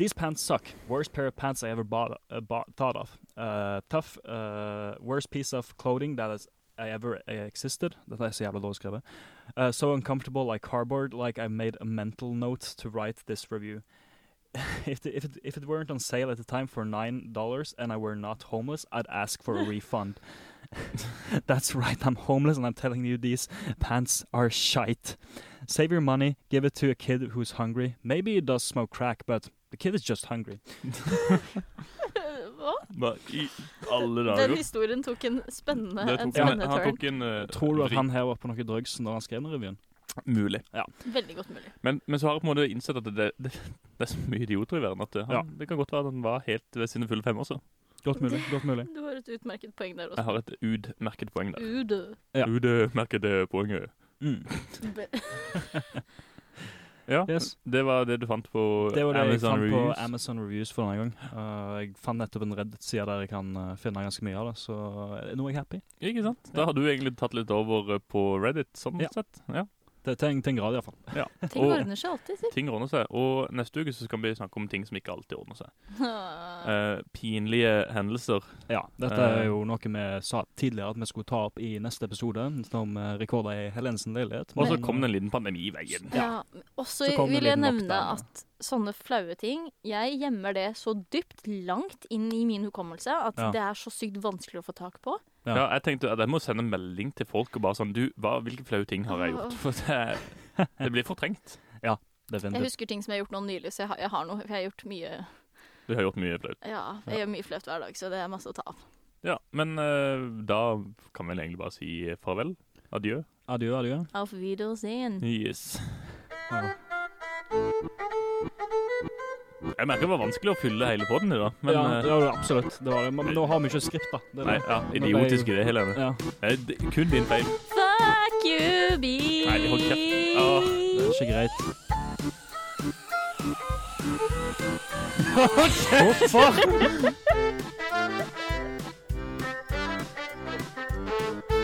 These pants suck. Worst pair of pants I ever bought, uh, bought thought of. Uh, tough. Uh, worst piece of clothing that has I ever eh, existed. Dette er så jævla dårlig skrevet. Uh, so uncomfortable like cardboard, like I made a mental note to write this review. if, the, if, it, if it weren't on sale at the time for $9 and I were not homeless, I'd ask for a refund. That's right, I'm homeless and I'm telling you these pants are shite. Save your money, give it to a kid who's hungry. Maybe he does smoke crack, but the kid is just hungry.
Hva?
Hva i alle
Den
dager?
historien tok en spennende,
Det
en
tok liksom en,
spennende
han
turn.
tok en eh,
Tror du at
vri.
han her var på noe drugs når han skrev den revyen?
Mulig.
Veldig godt mulig.
Men, men så har jeg på en måte innsett at det, det, det er så mye idioter i verden at det, han,
Ja.
det kan godt være at han var helt ved sine fulle fem også.
Godt mulig. godt mulig.
Du har et utmerket poeng der
Jeg
også.
har et utmerket poeng der.
Udu.
Ja.
Utmerket poenget.
Mm.
Be-
Ja,
Yes.
det var det du fant på
Det var det jeg
Amazon
fant
Reviews.
på Amazon Reviews for denne gang. Uh, jeg fant nettopp en Reddit-side der jeg kan uh, finne ganske mye av det, så eh, nå er jeg happy.
Ikke sant? Da har du egentlig tatt litt over eh, på Reddit, sånn
Ja.
sett. Ja.
Til, til, en, til en grad, iallfall.
Ting
Og-
ordner seg alltid, si.
Ting ordner seg. Og neste uke så skal vi snakke om ting som ikke alltid ordner seg.
Ah.
Eh, pinlige hendelser.
Ja, dette
Eh.
er jo noe vi sa tidligere at vi skulle ta opp i neste episode, som eh, rekorder i Helensen leilighet.
Og så
Men,
kom det en liten pandemi i veien.
Ja. Også
Så kom det
vil
en liten
jeg nevne
lockdown, ja.
at sånne flaue ting Jeg gjemmer det så dypt, langt inn i min hukommelse, at
Ja.
det er så sykt vanskelig å få tak på.
Ja.
Ja, jeg tenkte at jeg må sende en melding til folk og bare sånn Du, hva, hvilke flaue ting har jeg gjort? For det, det blir fortrengt.
Jeg
Definitivt.
husker ting som jeg har gjort nå nylig, så jeg har, jeg har noe. for Jeg har gjort mye
Du har gjort mye flaut.
Ja, jeg gjør mye flaut hver dag, så det er masse å ta av.
Ja, men eh, da kan vi vel egentlig bare si farvel. Adjø.
Adjø, adjø.
Auf Wiedersehen.
Yes.
Ja.
Jeg merker det var vanskelig å fylle hele poden i dag, men
ja,
eh,
det var det absolutt. Det var det. Men nå har vi ikke skript, da. Det er
Nei,
det.
ja,
Men det er jo-
idiotisk idé, Helene.
Ja.
Nei, det- kun din feil.
Fuck you, bitch.
Nei, hold kjeft. Åh,
Det er ikke greit. Hvorfor?